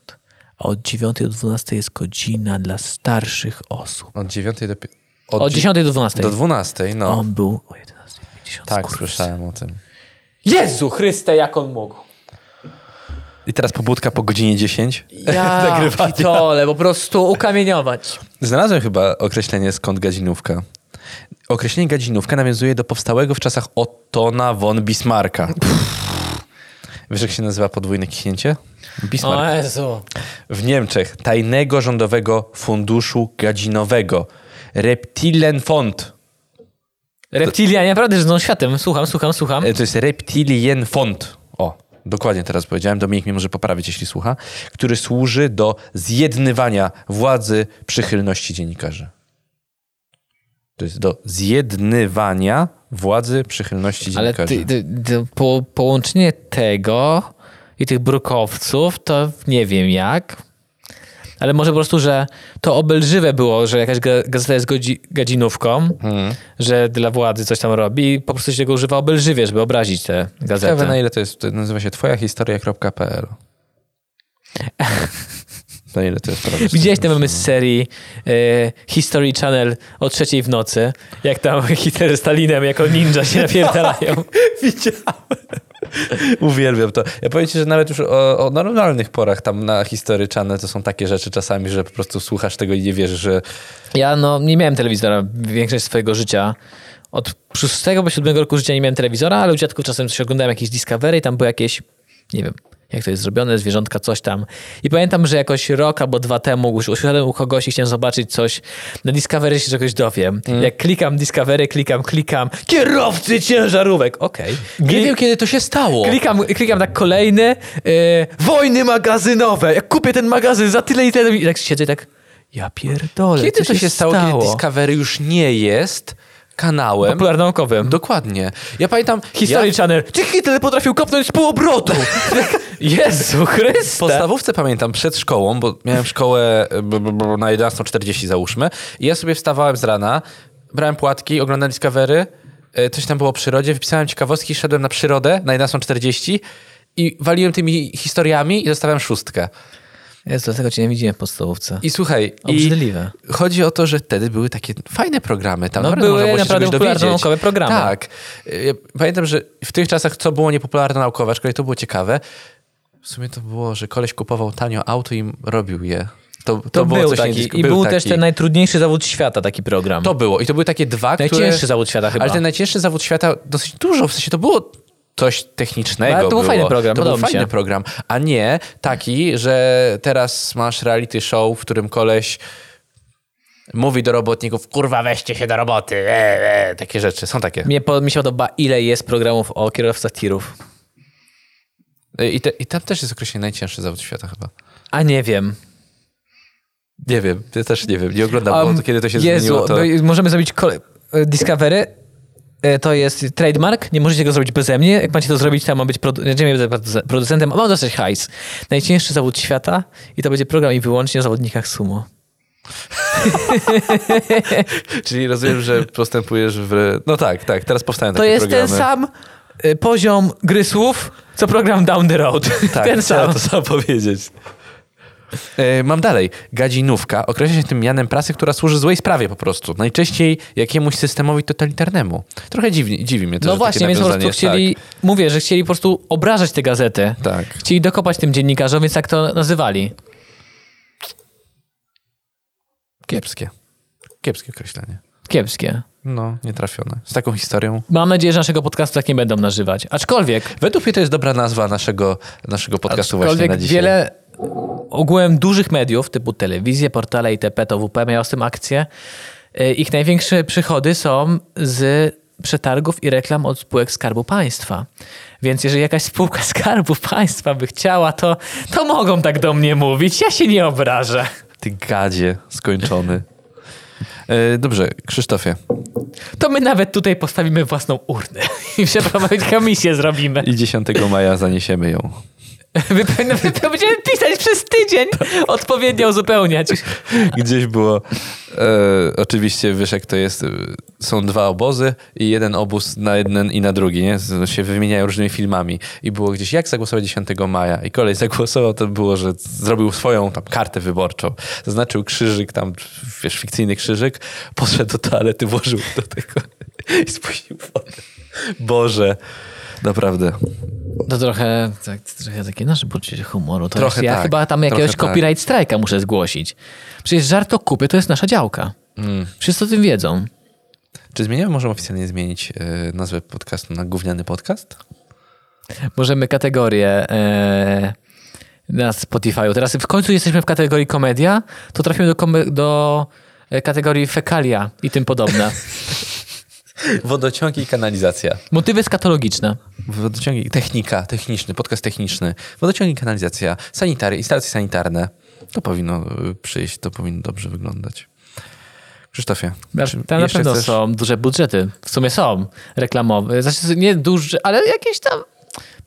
S1: a od 9 do 12 jest godzina dla starszych osób.
S2: Od 9 do... pi-
S1: Od,
S2: dzi-
S1: 10 do 12.
S2: Do 12, no.
S1: On był o 11.50.
S2: tak,
S1: skurwysyn.
S2: słyszałem o tym.
S1: Jezu Chryste, jak on mógł.
S2: I teraz pobudka po godzinie 10.
S1: Ja
S2: Nagrywania.
S1: pitole, po prostu ukamieniować.
S2: Znalazłem chyba określenie skąd gadzinówka. Określenie gadzinówka nawiązuje do powstałego w czasach Ottona von Bismarcka. Wiesz, jak się nazywa podwójne kichnięcie? Bismarck.
S1: O Jezu.
S2: W Niemczech tajnego rządowego funduszu gadzinowego. Reptilenfond.
S1: Reptilia, naprawdę żyją światem. Słucham, słucham, słucham.
S2: E, To jest Reptilienfond. O, dokładnie teraz powiedziałem. Dominik mnie może poprawić, jeśli słucha. Który służy do zjednywania władzy przychylności dziennikarzy. To jest do zjednywania władzy przychylności
S1: Ale
S2: dziennikarzy.
S1: ty, ty, ty, po, połączenie tego i tych brukowców, to nie wiem jak. Ale może po prostu, że to obelżywe było, że jakaś ga- gazeta jest godzi, gadzinówką, że dla władzy coś tam robi i po prostu się tego używa obelżywie, żeby obrazić tę
S2: Ciekawe na
S1: gazetę.
S2: ile to jest, to nazywa się twojahistoria.pl Na ile to jest prawda?
S1: Widziałeś te mamy z serii y, History Channel o trzeciej w nocy, jak tam Hitler z Stalinem jako ninja się napierdalają.
S2: Widziałem. Uwielbiam to. Ja powiem ci, że nawet już o, o normalnych porach tam na History Channel to są takie rzeczy czasami, że po prostu słuchasz tego i nie wierzysz, że
S1: Ja no, nie miałem telewizora większość swojego życia. Od 6 do 7 roku życia nie miałem telewizora, ale u dziadków czasem coś oglądałem, jakieś Discovery i tam były jakieś, nie wiem, jak to jest zrobione, zwierzątka, coś tam. I pamiętam, że jakoś rok albo dwa temu już usiadłem u kogoś i chciałem zobaczyć coś. Na Discovery się czegoś dowiem. Jak klikam Discovery, klikam, klikam, kierowcy ciężarówek, okej.
S2: nie
S1: Kli-
S2: wiem, kiedy to się stało.
S1: Klikam, klikam tak kolejny. Yy, wojny magazynowe. Jak kupię ten magazyn za tyle i tyle. I tak siedzę i tak. Ja pierdolę.
S2: Kiedy
S1: co
S2: to się stało, kiedy Discovery już nie jest kanałem?
S1: popularnaukowym.
S2: Dokładnie. Ja pamiętam...
S1: History
S2: ja...
S1: Channel. Ty Hitler potrafił kopnąć z pół obrotu. Jezu
S2: W
S1: Chryste.
S2: podstawówce pamiętam przed szkołą, bo miałem szkołę e, b, b, b, na 11.40 załóżmy i ja sobie wstawałem z rana, brałem płatki, oglądałem Discovery, e, coś tam było o przyrodzie, wypisałem ciekawostki, szedłem na przyrodę na 11.40 i waliłem tymi historiami i dostałem szóstkę.
S1: Jezu, dlatego cię nie widziałem w podstawówce.
S2: I słuchaj, i
S1: Obrzydliwe.
S2: chodzi o to, że wtedy były takie fajne programy. Tam
S1: No,
S2: naprawdę
S1: były
S2: można było się
S1: naprawdę
S2: czegoś
S1: popularne
S2: dowiedzieć.
S1: naukowe programy.
S2: Tak. Ja Pamiętam, że w tych czasach co było niepopularne naukowe, aczkolwiek to było ciekawe, w sumie to było, że koleś kupował tanio auto i robił je. To, to,
S1: To,
S2: było
S1: był
S2: coś
S1: taki.
S2: niedysk-
S1: I był, też
S2: taki.
S1: ten najtrudniejszy zawód świata, taki program.
S2: To było. I to były takie dwa,
S1: Najcięższy
S2: które...
S1: zawód świata chyba.
S2: Ale ten najcięższy zawód świata dosyć dużo, w sensie to było coś technicznego.
S1: No, Ale to był
S2: było.
S1: fajny program,
S2: To był
S1: podobał mi się.
S2: fajny program, a nie taki, że teraz masz reality show, w którym koleś mówi do robotników, kurwa weźcie się do roboty, e, e, takie rzeczy, są takie.
S1: Mnie, po, mi się podoba, ile jest programów o kierowcach tirów.
S2: I, te, I tam też jest określenie najcięższy zawód świata chyba.
S1: A nie wiem.
S2: Nie wiem, ja też nie wiem, nie oglądam,
S1: Um,
S2: bo to, kiedy to się
S1: Jezu,
S2: zmieniło, to...
S1: no i możemy zrobić kole... e, Discovery. e, To jest trademark, nie możecie go zrobić beze mnie. Jak macie to zrobić, to ja mam być produ- nie, nie będę produ- producentem, a mam dostać hajs. Najcięższy zawód świata i to będzie program i wyłącznie o zawodnikach sumo.
S2: Czyli rozumiem, że postępujesz w... No tak, tak, teraz powstają
S1: To
S2: takie
S1: jest
S2: programy.
S1: ten sam e, poziom gry słów, co program Down the Road.
S2: Tak,
S1: ten sam. No
S2: chciałem to samo powiedzieć. E, Mam dalej. Gadzinówka określa się tym mianem prasy, która służy złej sprawie po prostu. Najczęściej jakiemuś systemowi totalitarnemu. Trochę dziwi, dziwi mnie to,
S1: No
S2: że
S1: właśnie,
S2: takie
S1: więc po
S2: nawiązanie
S1: prostu
S2: jest, tak.
S1: chcieli, mówię, że chcieli po prostu obrażać te gazety.
S2: Tak.
S1: Chcieli dokopać tym dziennikarzom, więc tak to nazywali.
S2: Kiepskie. Kiepskie określenie.
S1: Kiepskie.
S2: No, nietrafione. Z taką historią.
S1: Mam nadzieję, że naszego podcastu tak nie będą nażywać. Aczkolwiek,
S2: Według mnie to jest dobra nazwa naszego, naszego podcastu właśnie na
S1: aczkolwiek
S2: dzisiaj.
S1: wiele ogółem dużych mediów, typu telewizje, portale itp., to WP miało z tym akcję. Y, Ich największe przychody są z przetargów i reklam od spółek Skarbu Państwa. Więc jeżeli jakaś spółka Skarbu Państwa by chciała, to, to mogą tak do mnie mówić. Ja się nie obrażę.
S2: Ty gadzie skończony. E, Dobrze, Krzysztofie.
S1: To my nawet tutaj postawimy własną urnę i przeprowadzić komisję zrobimy.
S2: I 10 maja zaniesiemy ją.
S1: Wypełniamy, będziemy pisać przez tydzień, odpowiednio uzupełniać.
S2: Gdzieś było. E, oczywiście wiesz, jak to jest. e, Są dwa obozy i jeden obóz na jeden i na drugi, nie? Z- Się wymieniają różnymi filmami. I było gdzieś, jak zagłosować 10 maja? I kolej zagłosował, to było, że zrobił swoją tam kartę wyborczą. Zaznaczył krzyżyk, tam, wiesz, fikcyjny krzyżyk, poszedł do toalety, włożył do tego i spuścił wodę. Boże. Naprawdę.
S1: To trochę, tak, to trochę takie nasze poczucie humoru. To
S2: Trochę
S1: jest, ja
S2: tak,
S1: chyba tam
S2: trochę
S1: jakiegoś
S2: tak.
S1: copyright strajka muszę zgłosić. Przecież żart o kupie to jest nasza działka.
S2: Mm.
S1: Wszyscy o tym wiedzą.
S2: Czy zmieniamy, możemy oficjalnie zmienić e, nazwę podcastu na gówniany podcast?
S1: Możemy kategorię e, na Spotify'u. Teraz w końcu jesteśmy w kategorii komedia, to trafimy do, kome- do e, kategorii fekalia i tym podobne.
S2: Wodociągi i kanalizacja.
S1: Motywy skatologiczne.
S2: Wodociągi, technika, techniczny, podcast techniczny, wodociągi, kanalizacja, sanitary, instalacje sanitarne. To powinno y, przyjść, to powinno dobrze wyglądać. Krzysztofie,
S1: Na,
S2: czy
S1: tam na
S2: jeszcze
S1: pewno
S2: chcesz-
S1: są duże budżety. W sumie są reklamowe. Znaczy nie duże, ale jakieś tam...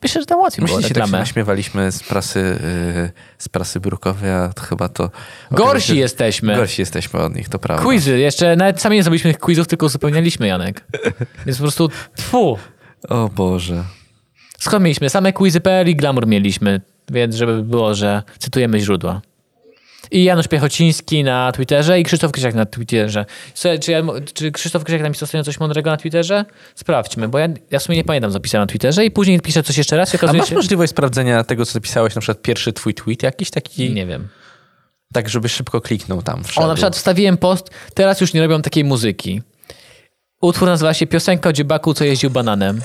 S1: Myślę, że tam łatwiej było
S2: Myślę, że się tak się
S1: reklamę.
S2: naśmiewaliśmy z prasy, y, z prasy brukowej, a to chyba to...
S1: Gorsi
S2: okazało się-
S1: jesteśmy.
S2: Gorsi jesteśmy od nich, to prawda.
S1: Quizy. Jeszcze nawet sami nie zrobiliśmy tych quizów, tylko uzupełnialiśmy, Janek. Więc po prostu tfu.
S2: O Boże.
S1: Skąd mieliśmy? Same quizy.pl i Glamour mieliśmy. Więc żeby było, że cytujemy źródła. I Janusz Piechociński na Twitterze i Krzysztof Krysiak na Twitterze. Słuchaj, czy, ja, mo- czy Krzysztof Krysiak napisał ostatnio coś mądrego na Twitterze? Sprawdźmy, bo ja, ja w sumie nie pamiętam, co pisałem na Twitterze i później piszę coś jeszcze raz i
S2: A
S1: okazuje
S2: masz
S1: się...
S2: możliwość sprawdzenia tego, co napisałeś, na przykład pierwszy twój tweet, jakiś taki,
S1: Nie wiem.
S2: tak żeby szybko kliknął tam wszedł.
S1: O, na przykład wstawiłem post, teraz już nie robią takiej muzyki. Utwór nazywa się Piosenka o dziebaku, co jeździł bananem.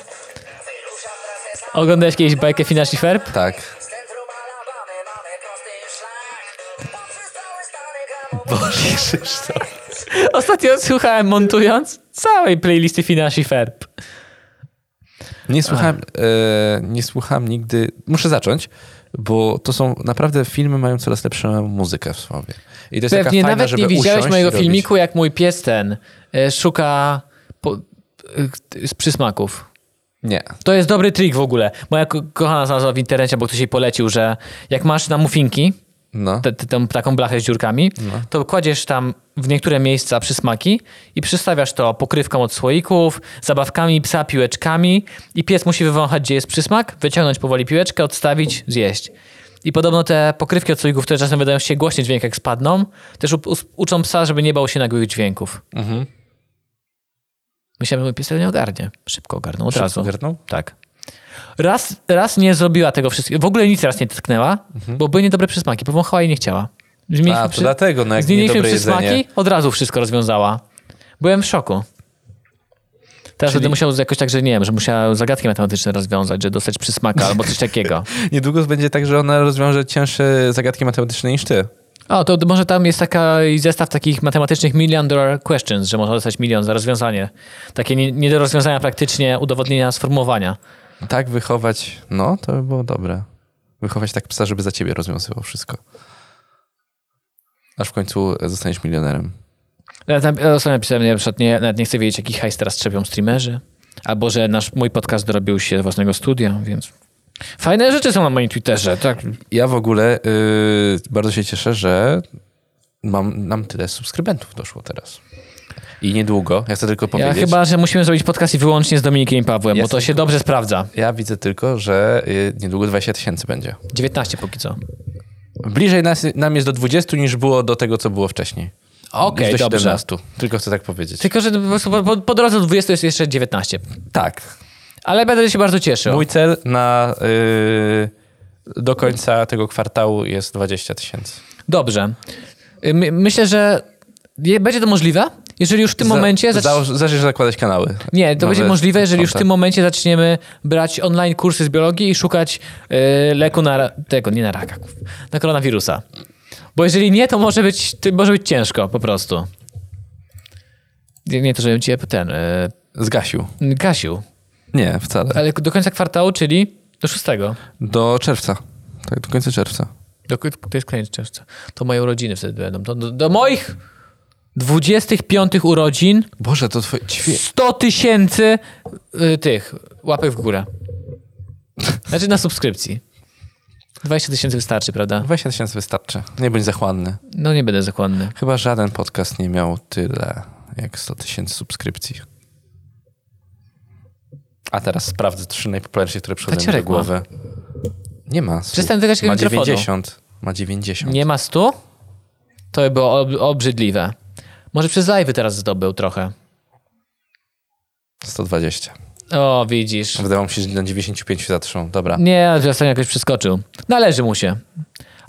S1: Oglądałeś kiedyś bajkę Finashi Ferb?
S2: Tak.
S3: Z centrum Alabamy mamy prosty szlak. Poprzez całe Stany Gramowe.
S2: Boże, Krzysztof.
S1: Ostatnio słuchałem montując całej playlisty Finashi Ferb.
S2: Nie słuchałem, e, nie słucham nigdy. Muszę zacząć, bo to są naprawdę filmy mają coraz lepszą muzykę w sobie. I to jest
S1: Pewnie
S2: taka fajna,
S1: nawet
S2: żeby
S1: nie widziałeś
S2: usiąść i
S1: mojego
S2: robić.
S1: filmiku, jak mój pies ten e, szuka po, e, z przysmaków.
S2: Nie.
S1: To jest dobry trik w ogóle. Moja ko- kochana znalazła w internecie, bo ktoś jej polecił, że jak masz na muffinki,
S2: No.
S1: te, te, tą taką blachę z dziurkami, to kładziesz tam w niektóre miejsca przysmaki i przystawiasz to pokrywką od słoików, zabawkami psa, piłeczkami i pies musi wywąchać, gdzie jest przysmak, wyciągnąć powoli piłeczkę, odstawić, zjeść. I podobno te pokrywki od słoików, które czasem wydają się głośny dźwięk, jak spadną, też u- us- uczą psa, żeby nie bał się nagłych dźwięków.
S2: Mhm.
S1: Myślałem, że mój pies tego nie ogarnie. Szybko ogarnął, od razu.
S2: Ogarnął?
S1: Tak. Raz, raz nie zrobiła tego wszystkiego. W ogóle nic raz nie tknęła, bo były niedobre przysmaki. Powąchała i nie chciała. Zmieniliśmy
S2: Mhm. A, to dlatego, no jak
S1: zmieniliśmy
S2: niedobre
S1: przysmaki,
S2: jedzenie.
S1: od razu wszystko rozwiązała. Byłem w szoku. Teraz
S2: Czyli-
S1: będę musiał jakoś tak, że nie wiem, że musiała zagadki matematyczne rozwiązać, że dostać przysmaka albo coś takiego.
S2: Niedługo będzie tak, że ona rozwiąże cięższe zagadki matematyczne niż ty.
S1: O, to d- może tam jest taki zestaw takich matematycznych million dollar questions, że można dostać milion za rozwiązanie. Takie nie, nie do rozwiązania praktycznie udowodnienia, sformułowania.
S2: Tak wychować, no to by było dobre. Wychować tak psa, żeby za ciebie rozwiązywał wszystko. Aż w końcu zostaniesz milionerem.
S1: Ja tam ja ostatnio napisałem, ja na przykład nie, nawet nie chcę wiedzieć, jaki hajs teraz trzepią streamerzy. Albo, że nasz, mój podcast dorobił się własnego studia, więc... Fajne rzeczy są na moim Twitterze, tak?
S2: Ja w ogóle y, bardzo się cieszę, że mam, nam tyle subskrybentów doszło teraz. I niedługo, ja chcę tylko
S1: Ja
S2: powiedzieć.
S1: chyba, że musimy zrobić podcast i wyłącznie z Dominikiem i Pawłem, bo to
S2: Jasne.
S1: się dobrze sprawdza.
S2: ja widzę tylko, że y, niedługo 20 tysięcy będzie.
S1: 19 póki co.
S2: Bliżej nas, nam jest do 20 niż było do tego, co było wcześniej.
S1: Okej,
S2: Niż do
S1: dobrze.
S2: 17. Tylko chcę tak powiedzieć.
S1: Tylko, że po, prostu po, po drodze do 20 jest jeszcze 19.
S2: tak.
S1: Ale będę się bardzo cieszył.
S2: Mój cel na y, do końca tego kwartału jest 20 tysięcy.
S1: Dobrze. Y, My, myślę, że je- będzie to możliwe, Jeżeli już w tym momencie...
S2: Za,
S1: zacz-
S2: założ- zaczniesz zakładać kanały.
S1: Nie, to
S2: Nowe
S1: będzie możliwe, jeżeli już w
S2: konta.
S1: tym momencie zaczniemy brać online kursy z biologii i szukać y, leku na ra- tego, nie na raka, kur- na koronawirusa. Bo jeżeli nie, to może być, to może być ciężko po prostu. Nie, nie to, żebym cię ten y,
S2: Zgasił.
S1: gasił,
S2: Nie, wcale.
S1: ale do końca kwartału, czyli do szóstego.
S2: Do czerwca. Tak, do końca czerwca.
S1: Do, ko- to jest koniec czerwca. To moje urodziny wtedy będą. To, do, do moich 25 urodzin
S2: Boże, to twoje... Ćwie...
S1: 100 tysięcy y, tych łapek w górę. Znaczy na subskrypcji. 20 tysięcy wystarczy, prawda?
S2: 20 tysięcy wystarczy. Nie bądź zachłanny.
S1: No nie będę zakładny.
S2: Chyba żaden podcast nie miał tyle jak 100 tysięcy subskrypcji. A teraz sprawdzę trzy najpopularniejsze, które przychodzą mi do
S1: Taciorek ma.
S2: głowy. Nie ma. słuch-
S1: Przestań dotykać
S2: Ma
S1: mikrofonu.
S2: 90. Ma 90.
S1: Nie ma 100? To by było ob- obrzydliwe. Może przez live teraz zdobył trochę.
S2: 120.
S1: O, widzisz.
S2: Wydawało mi się, że na 95 zatrzą. Dobra.
S1: Nie, ostatnio jakoś przeskoczył. Należy mu się.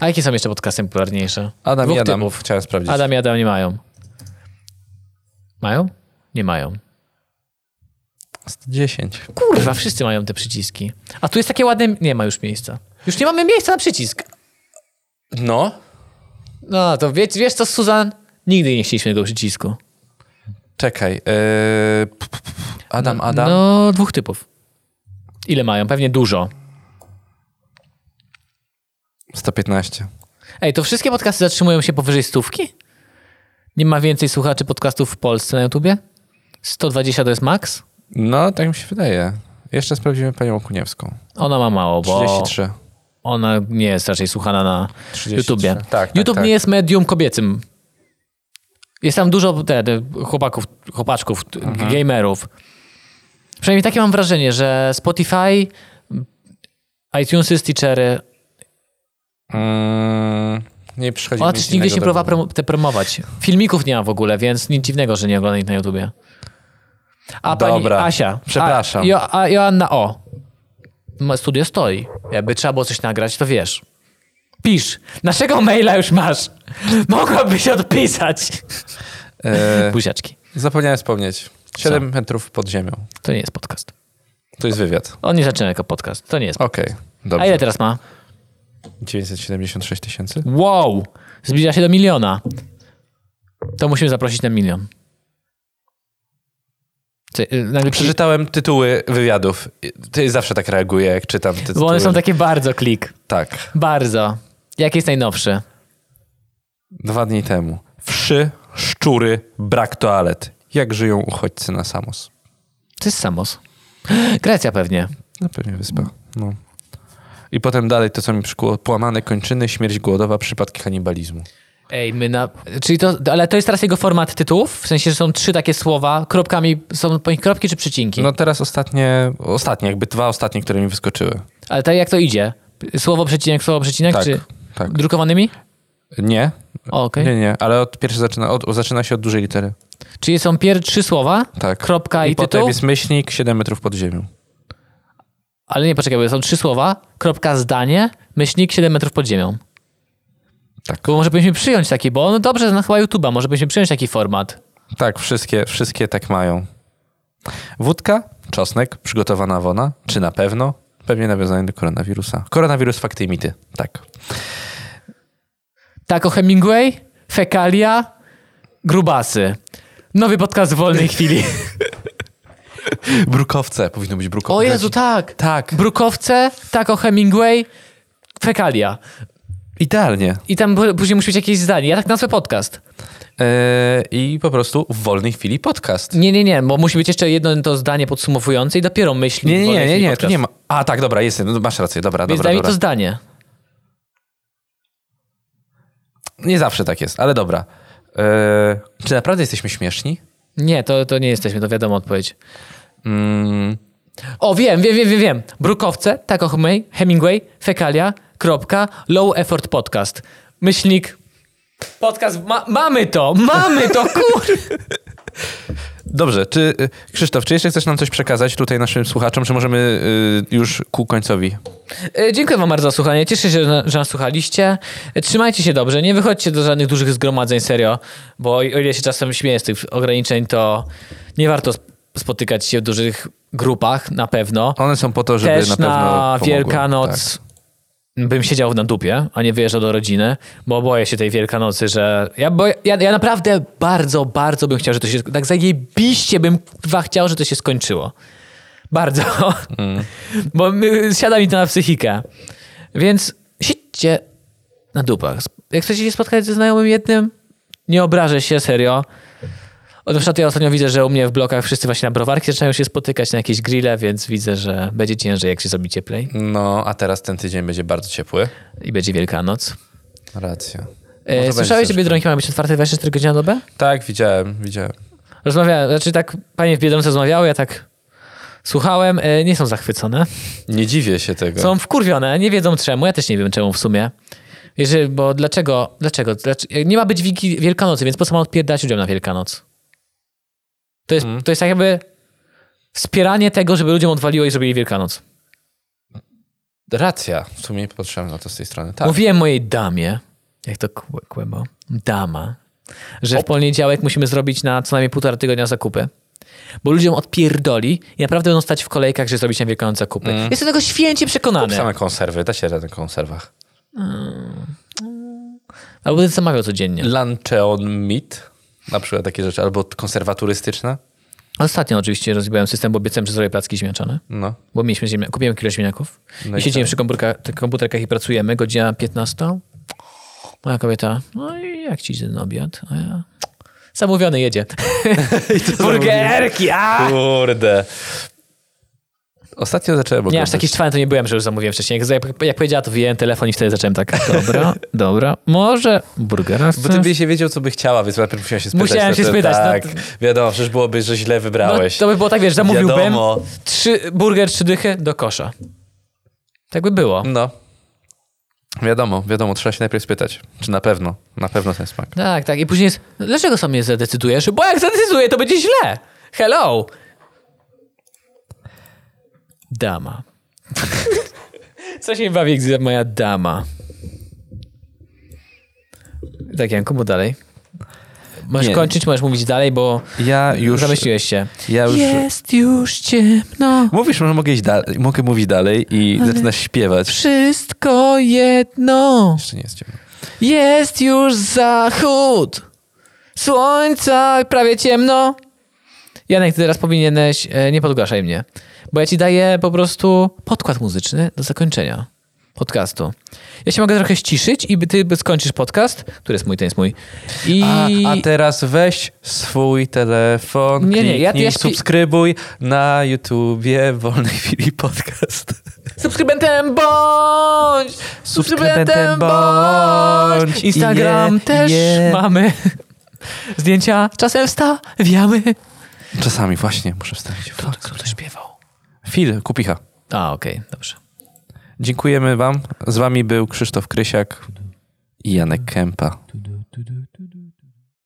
S1: A jakie są jeszcze podcasty popularniejsze?
S2: Adam i
S1: Dwóch
S2: Adam.
S1: typów.
S2: Chciałem sprawdzić.
S1: Adam i Adam nie mają. Mają? Nie mają.
S2: 110.
S1: Kurwa, wszyscy mają te przyciski. A tu jest takie ładne... Nie ma już miejsca. Już nie mamy miejsca na przycisk.
S2: No.
S1: No, to wiesz, wiesz co, Suzan? Nigdy nie chcieliśmy tego przycisku.
S2: Czekaj. Yy... p- p- p- Adam, Adam.
S1: No, dwóch typów. Ile mają? Pewnie dużo.
S2: 115.
S1: Ej, to wszystkie podcasty zatrzymują się powyżej stówki? Nie ma więcej słuchaczy podcastów w Polsce na YouTubie? 120 to jest max?
S2: No, tak mi się wydaje. Jeszcze sprawdzimy panią Okuniewską.
S1: Ona ma mało, bo
S2: 33.
S1: ona nie jest raczej słuchana na
S2: 33.
S1: YouTubie.
S2: Tak, tak,
S1: YouTube
S2: tak.
S1: nie jest medium kobiecym. Jest tam dużo te, te chłopaków, chłopaczków, t-
S2: Mhm.
S1: gamerów. Przynajmniej takie mam wrażenie, że Spotify, iTunesy, Stitchery,
S2: Mm, nie przychodzi
S1: Ona
S2: mi nic
S1: też nigdy
S2: innego
S1: się
S2: do
S1: próbowała
S2: głowy.
S1: prom- te promować. Filmików nie ma w ogóle, więc nic dziwnego, że nie ogląda ich na YouTubie. A
S2: Dobra,
S1: pani Asia.
S2: przepraszam.
S1: A, jo, a Joanna O. Ma- Studio stoi. Jakby trzeba było coś nagrać, to wiesz. Pisz. Naszego maila już masz. Mogłabyś odpisać.
S2: E,
S1: Buziaczki.
S2: zapomniałem wspomnieć. 7 metrów pod ziemią.
S1: To nie jest podcast.
S2: To jest wywiad.
S1: On nie zaczyna jako podcast. To nie jest podcast.
S2: Okej,
S1: A ile
S2: dobrze.
S1: teraz ma?
S2: 976 tysięcy?
S1: Wow. Zbliża się do miliona. To musimy zaprosić na milion. Czy, y, nagle przy-
S2: Przeczytałem tytuły wywiadów. Ty zawsze tak reaguję, jak czytam te tytuły.
S1: Bo one są takie bardzo klik.
S2: Tak.
S1: Bardzo. Jaki jest najnowszy?
S2: Dwa dni temu. Wszy, szczury, brak toalet. Jak żyją uchodźcy na Samos?
S1: To jest Samos. Grecja pewnie.
S2: Na pewnie wyspa. No. I potem dalej to, co mi przykuło. Płamane kończyny, śmierć głodowa, przypadki kanibalizmu.
S1: Ej, my na... Czyli to, ale to jest teraz jego format tytułów? W sensie, że są trzy takie słowa, kropkami, są po nich kropki czy przycinki?
S2: No teraz ostatnie, ostatnie, jakby dwa ostatnie, które mi wyskoczyły.
S1: Ale tak jak to idzie? Słowo, przecinek, słowo, przecinek?
S2: Tak,
S1: czy
S2: tak.
S1: Drukowanymi?
S2: Nie.
S1: O, Okej.
S2: Nie, nie, ale od pierwszy zaczyna, od, zaczyna się od dużej litery.
S1: Czyli są pier... trzy słowa,
S2: Tak.
S1: kropka i,
S2: potem
S1: tytuł?
S2: jest myślnik 7 metrów pod ziemią.
S1: Ale nie, poczekaj, bo są trzy słowa, kropka, zdanie, myślnik 7 metrów pod ziemią.
S2: Tak.
S1: Bo może byśmy przyjąć taki, bo on dobrze zna chyba YouTube'a, może byśmy przyjąć taki format.
S2: Tak, wszystkie, wszystkie tak mają. Wódka, czosnek, przygotowana wona, czy na pewno? Pewnie nawiązanie do koronawirusa. Koronawirus, fakty i mity. Tak.
S1: Tak, o Hemingway, fekalia, grubasy. Nowy podcast w wolnej chwili.
S2: Brukowce, powinno być brukowce.
S1: O Jezu, tak.
S2: Tak.
S1: Brukowce, tak o Hemingway, fekalia.
S2: Idealnie.
S1: I tam p- później musi być jakieś zdanie. Ja tak nazwę podcast.
S2: E, I po prostu w wolnej chwili podcast.
S1: Nie, nie, nie, bo musi być jeszcze jedno to zdanie podsumowujące i dopiero myśl.
S2: Nie,
S1: w
S2: nie,
S1: wolnej
S2: nie, nie,
S1: chwili
S2: nie, tu
S1: podcast.
S2: nie ma. A tak, dobra, jest, no, masz rację, dobra,
S1: Więc
S2: dobra.
S1: daj mi
S2: dobra.
S1: to zdanie.
S2: Nie zawsze tak jest, ale dobra. E, czy naprawdę jesteśmy śmieszni?
S1: Nie, to, to nie jesteśmy, to wiadomo odpowiedź.
S2: Mm,
S1: O, wiem, wiem, wiem, wiem, wiem. Brukowce, tak o Hemingway- Hemingway, fekalia, kropka, low effort podcast. Myślnik, podcast, ma, mamy to, mamy to, kur...
S2: Dobrze, czy y, Krzysztof, czy jeszcze chcesz nam coś przekazać tutaj naszym słuchaczom, czy możemy y, już ku końcowi?
S1: E, Dziękuję wam bardzo za słuchanie. Cieszę się, że, że nas słuchaliście. E, Trzymajcie się dobrze. Nie wychodźcie do żadnych dużych zgromadzeń, serio. Bo o ile się czasem śmieję z tych ograniczeń, to nie warto sp- spotykać się w dużych grupach, na pewno.
S2: One są po to, żeby
S1: Też
S2: na pewno tak.
S1: na
S2: pomogły.
S1: Wielkanoc bym siedział na dupie, a nie wyjeżdżał do rodziny, bo boję się tej Wielkanocy, że... Ja, bo ja, ja naprawdę bardzo, bardzo bym chciał, że to się... Tak zajebiście bym kurwa, chciał, że to się skończyło. Bardzo.
S2: Mm.
S1: Bo my, siada mi to na psychikę. Więc siedźcie na dupach. Jak chcecie się spotkać ze znajomym jednym, nie obrażę się, serio. O, na przykład ja ostatnio widzę, że u mnie w blokach wszyscy właśnie na browarki zaczynają się spotykać na jakieś grille, więc widzę, że będzie ciężej, jak się zrobi cieplej
S2: Tak. No, a teraz ten tydzień będzie bardzo ciepły.
S1: i będzie Wielkanoc.
S2: Racja. Może
S1: E,
S2: będzie
S1: słyszałeś, że
S2: też-
S1: Biedronki mają być otwarte 24 godziny na dobę?
S2: Tak, widziałem, widziałem.
S1: Rozmawiałem, znaczy tak panie w Biedronce rozmawiały, ja tak słuchałem, e, nie są zachwycone.
S2: Nie dziwię się tego.
S1: Są wkurwione, nie wiedzą czemu. Ja też nie wiem czemu w sumie. Jeżeli, bo dlaczego, dlaczego, dlaczego? e, Nie ma być Wigi- Wielkanocy, więc po co ma odpierdać ludziom na Wielkanoc? To jest, to jest tak jakby wspieranie tego, żeby ludziom odwaliło i zrobili Wielkanoc.
S2: Racja, w sumie potrzebna to z tej strony. Tak.
S1: Mówiłem mojej damie, jak to kłe- kłębo, dama, że w poniedziałek musimy zrobić na co najmniej półtora tygodnia zakupy. Bo ludziom odpierdoli i naprawdę będą stać w kolejkach, żeby zrobić na Wielkanoc zakupy. Jestem tego święcie przekonany.
S2: Same konserwy, da się radę na konserwach.
S1: Albo będę zamawiał codziennie.
S2: Luncheon meat, na przykład takie rzeczy, albo konserwa turystyczna.
S1: Ostatnio oczywiście rozbiłem system, bo obiecałem, że zrobię placki ziemniaczane.
S2: No.
S1: Bo mieliśmy ziemia... kupiłem kilo ziemniaków
S2: No
S1: i
S2: i
S1: siedzimy
S2: co?
S1: przy komórka... tych komputerkach i pracujemy. Godzina 15. Moja kobieta, no i jak ci idzie ten obiad? A ja... Zamówiony jedzie. Burgerki, a!
S2: Kurde. Ostatnio zacząłem
S1: Nie,
S2: oglądać.
S1: aż taki szczwany to nie byłem, że już zamówiłem wcześniej. Jak, jak, jak powiedziała, to wyjęłem telefon i wtedy zacząłem tak, dobra, dobra, może burgera
S2: Bo ty byś się wiedział, co by chciała, więc najpierw musiałem się spytać.
S1: Musiałem
S2: No
S1: się
S2: to
S1: spytać, no
S2: Tak, wiadomo, przecież byłoby, że źle
S1: no,
S2: wybrałeś.
S1: To by było tak, wiesz, zamówiłbym
S2: Wiadomo.
S1: trzy, burger, trzy dychy do kosza. Tak by było.
S2: No. Wiadomo, wiadomo, trzeba się najpierw spytać, czy na pewno, na pewno ten smak.
S1: Tak, tak. I później jest, dlaczego sam nie zadecydujesz? Bo jak zadecyduję, to będzie źle. Hello. Dama. Co się bawi, gdy moja dama. Tak, Janku, bo dalej. Możesz
S2: Nie.
S1: kończyć, możesz mówić dalej, bo
S2: Ja już...
S1: zamyśliłeś się.
S2: Ja już...
S1: Jest już ciemno,
S2: Mówisz, że mogę iść dalej, mogę mówić dalej i zaczynasz śpiewać.
S1: wszystko jedno.
S2: Jeszcze nie jest ciemno.
S1: Jest już zachód. Słońca prawie ciemno. Janek, ty teraz powinieneś. e, Nie podgłaszaj mnie, bo ja ci daję po prostu podkład muzyczny do zakończenia podcastu. Ja się mogę trochę ściszyć i by- ty by skończysz podcast, który jest mój, ten jest mój. I
S2: A, a teraz weź swój telefon,
S1: Nie, nie, ja-
S2: kliknij,
S1: ja śpi-
S2: subskrybuj na YouTubie Wolnej Chwili Podcast.
S1: subskrybentem bądź! Subskrybentem
S2: Subskrybentem
S1: bądź!
S2: bądź!
S1: Instagram
S2: Je-
S1: też
S2: je.
S1: mamy. Zdjęcia czasem wstawiamy.
S2: Czasami właśnie muszę wstawić.
S1: Kto, kto to śpiewał?
S2: Fil, kupicha.
S1: A, okej, dobrze.
S2: Dziękujemy wam. Z wami był Krzysztof Krysiak i Janek Kępa.
S4: do do do do do do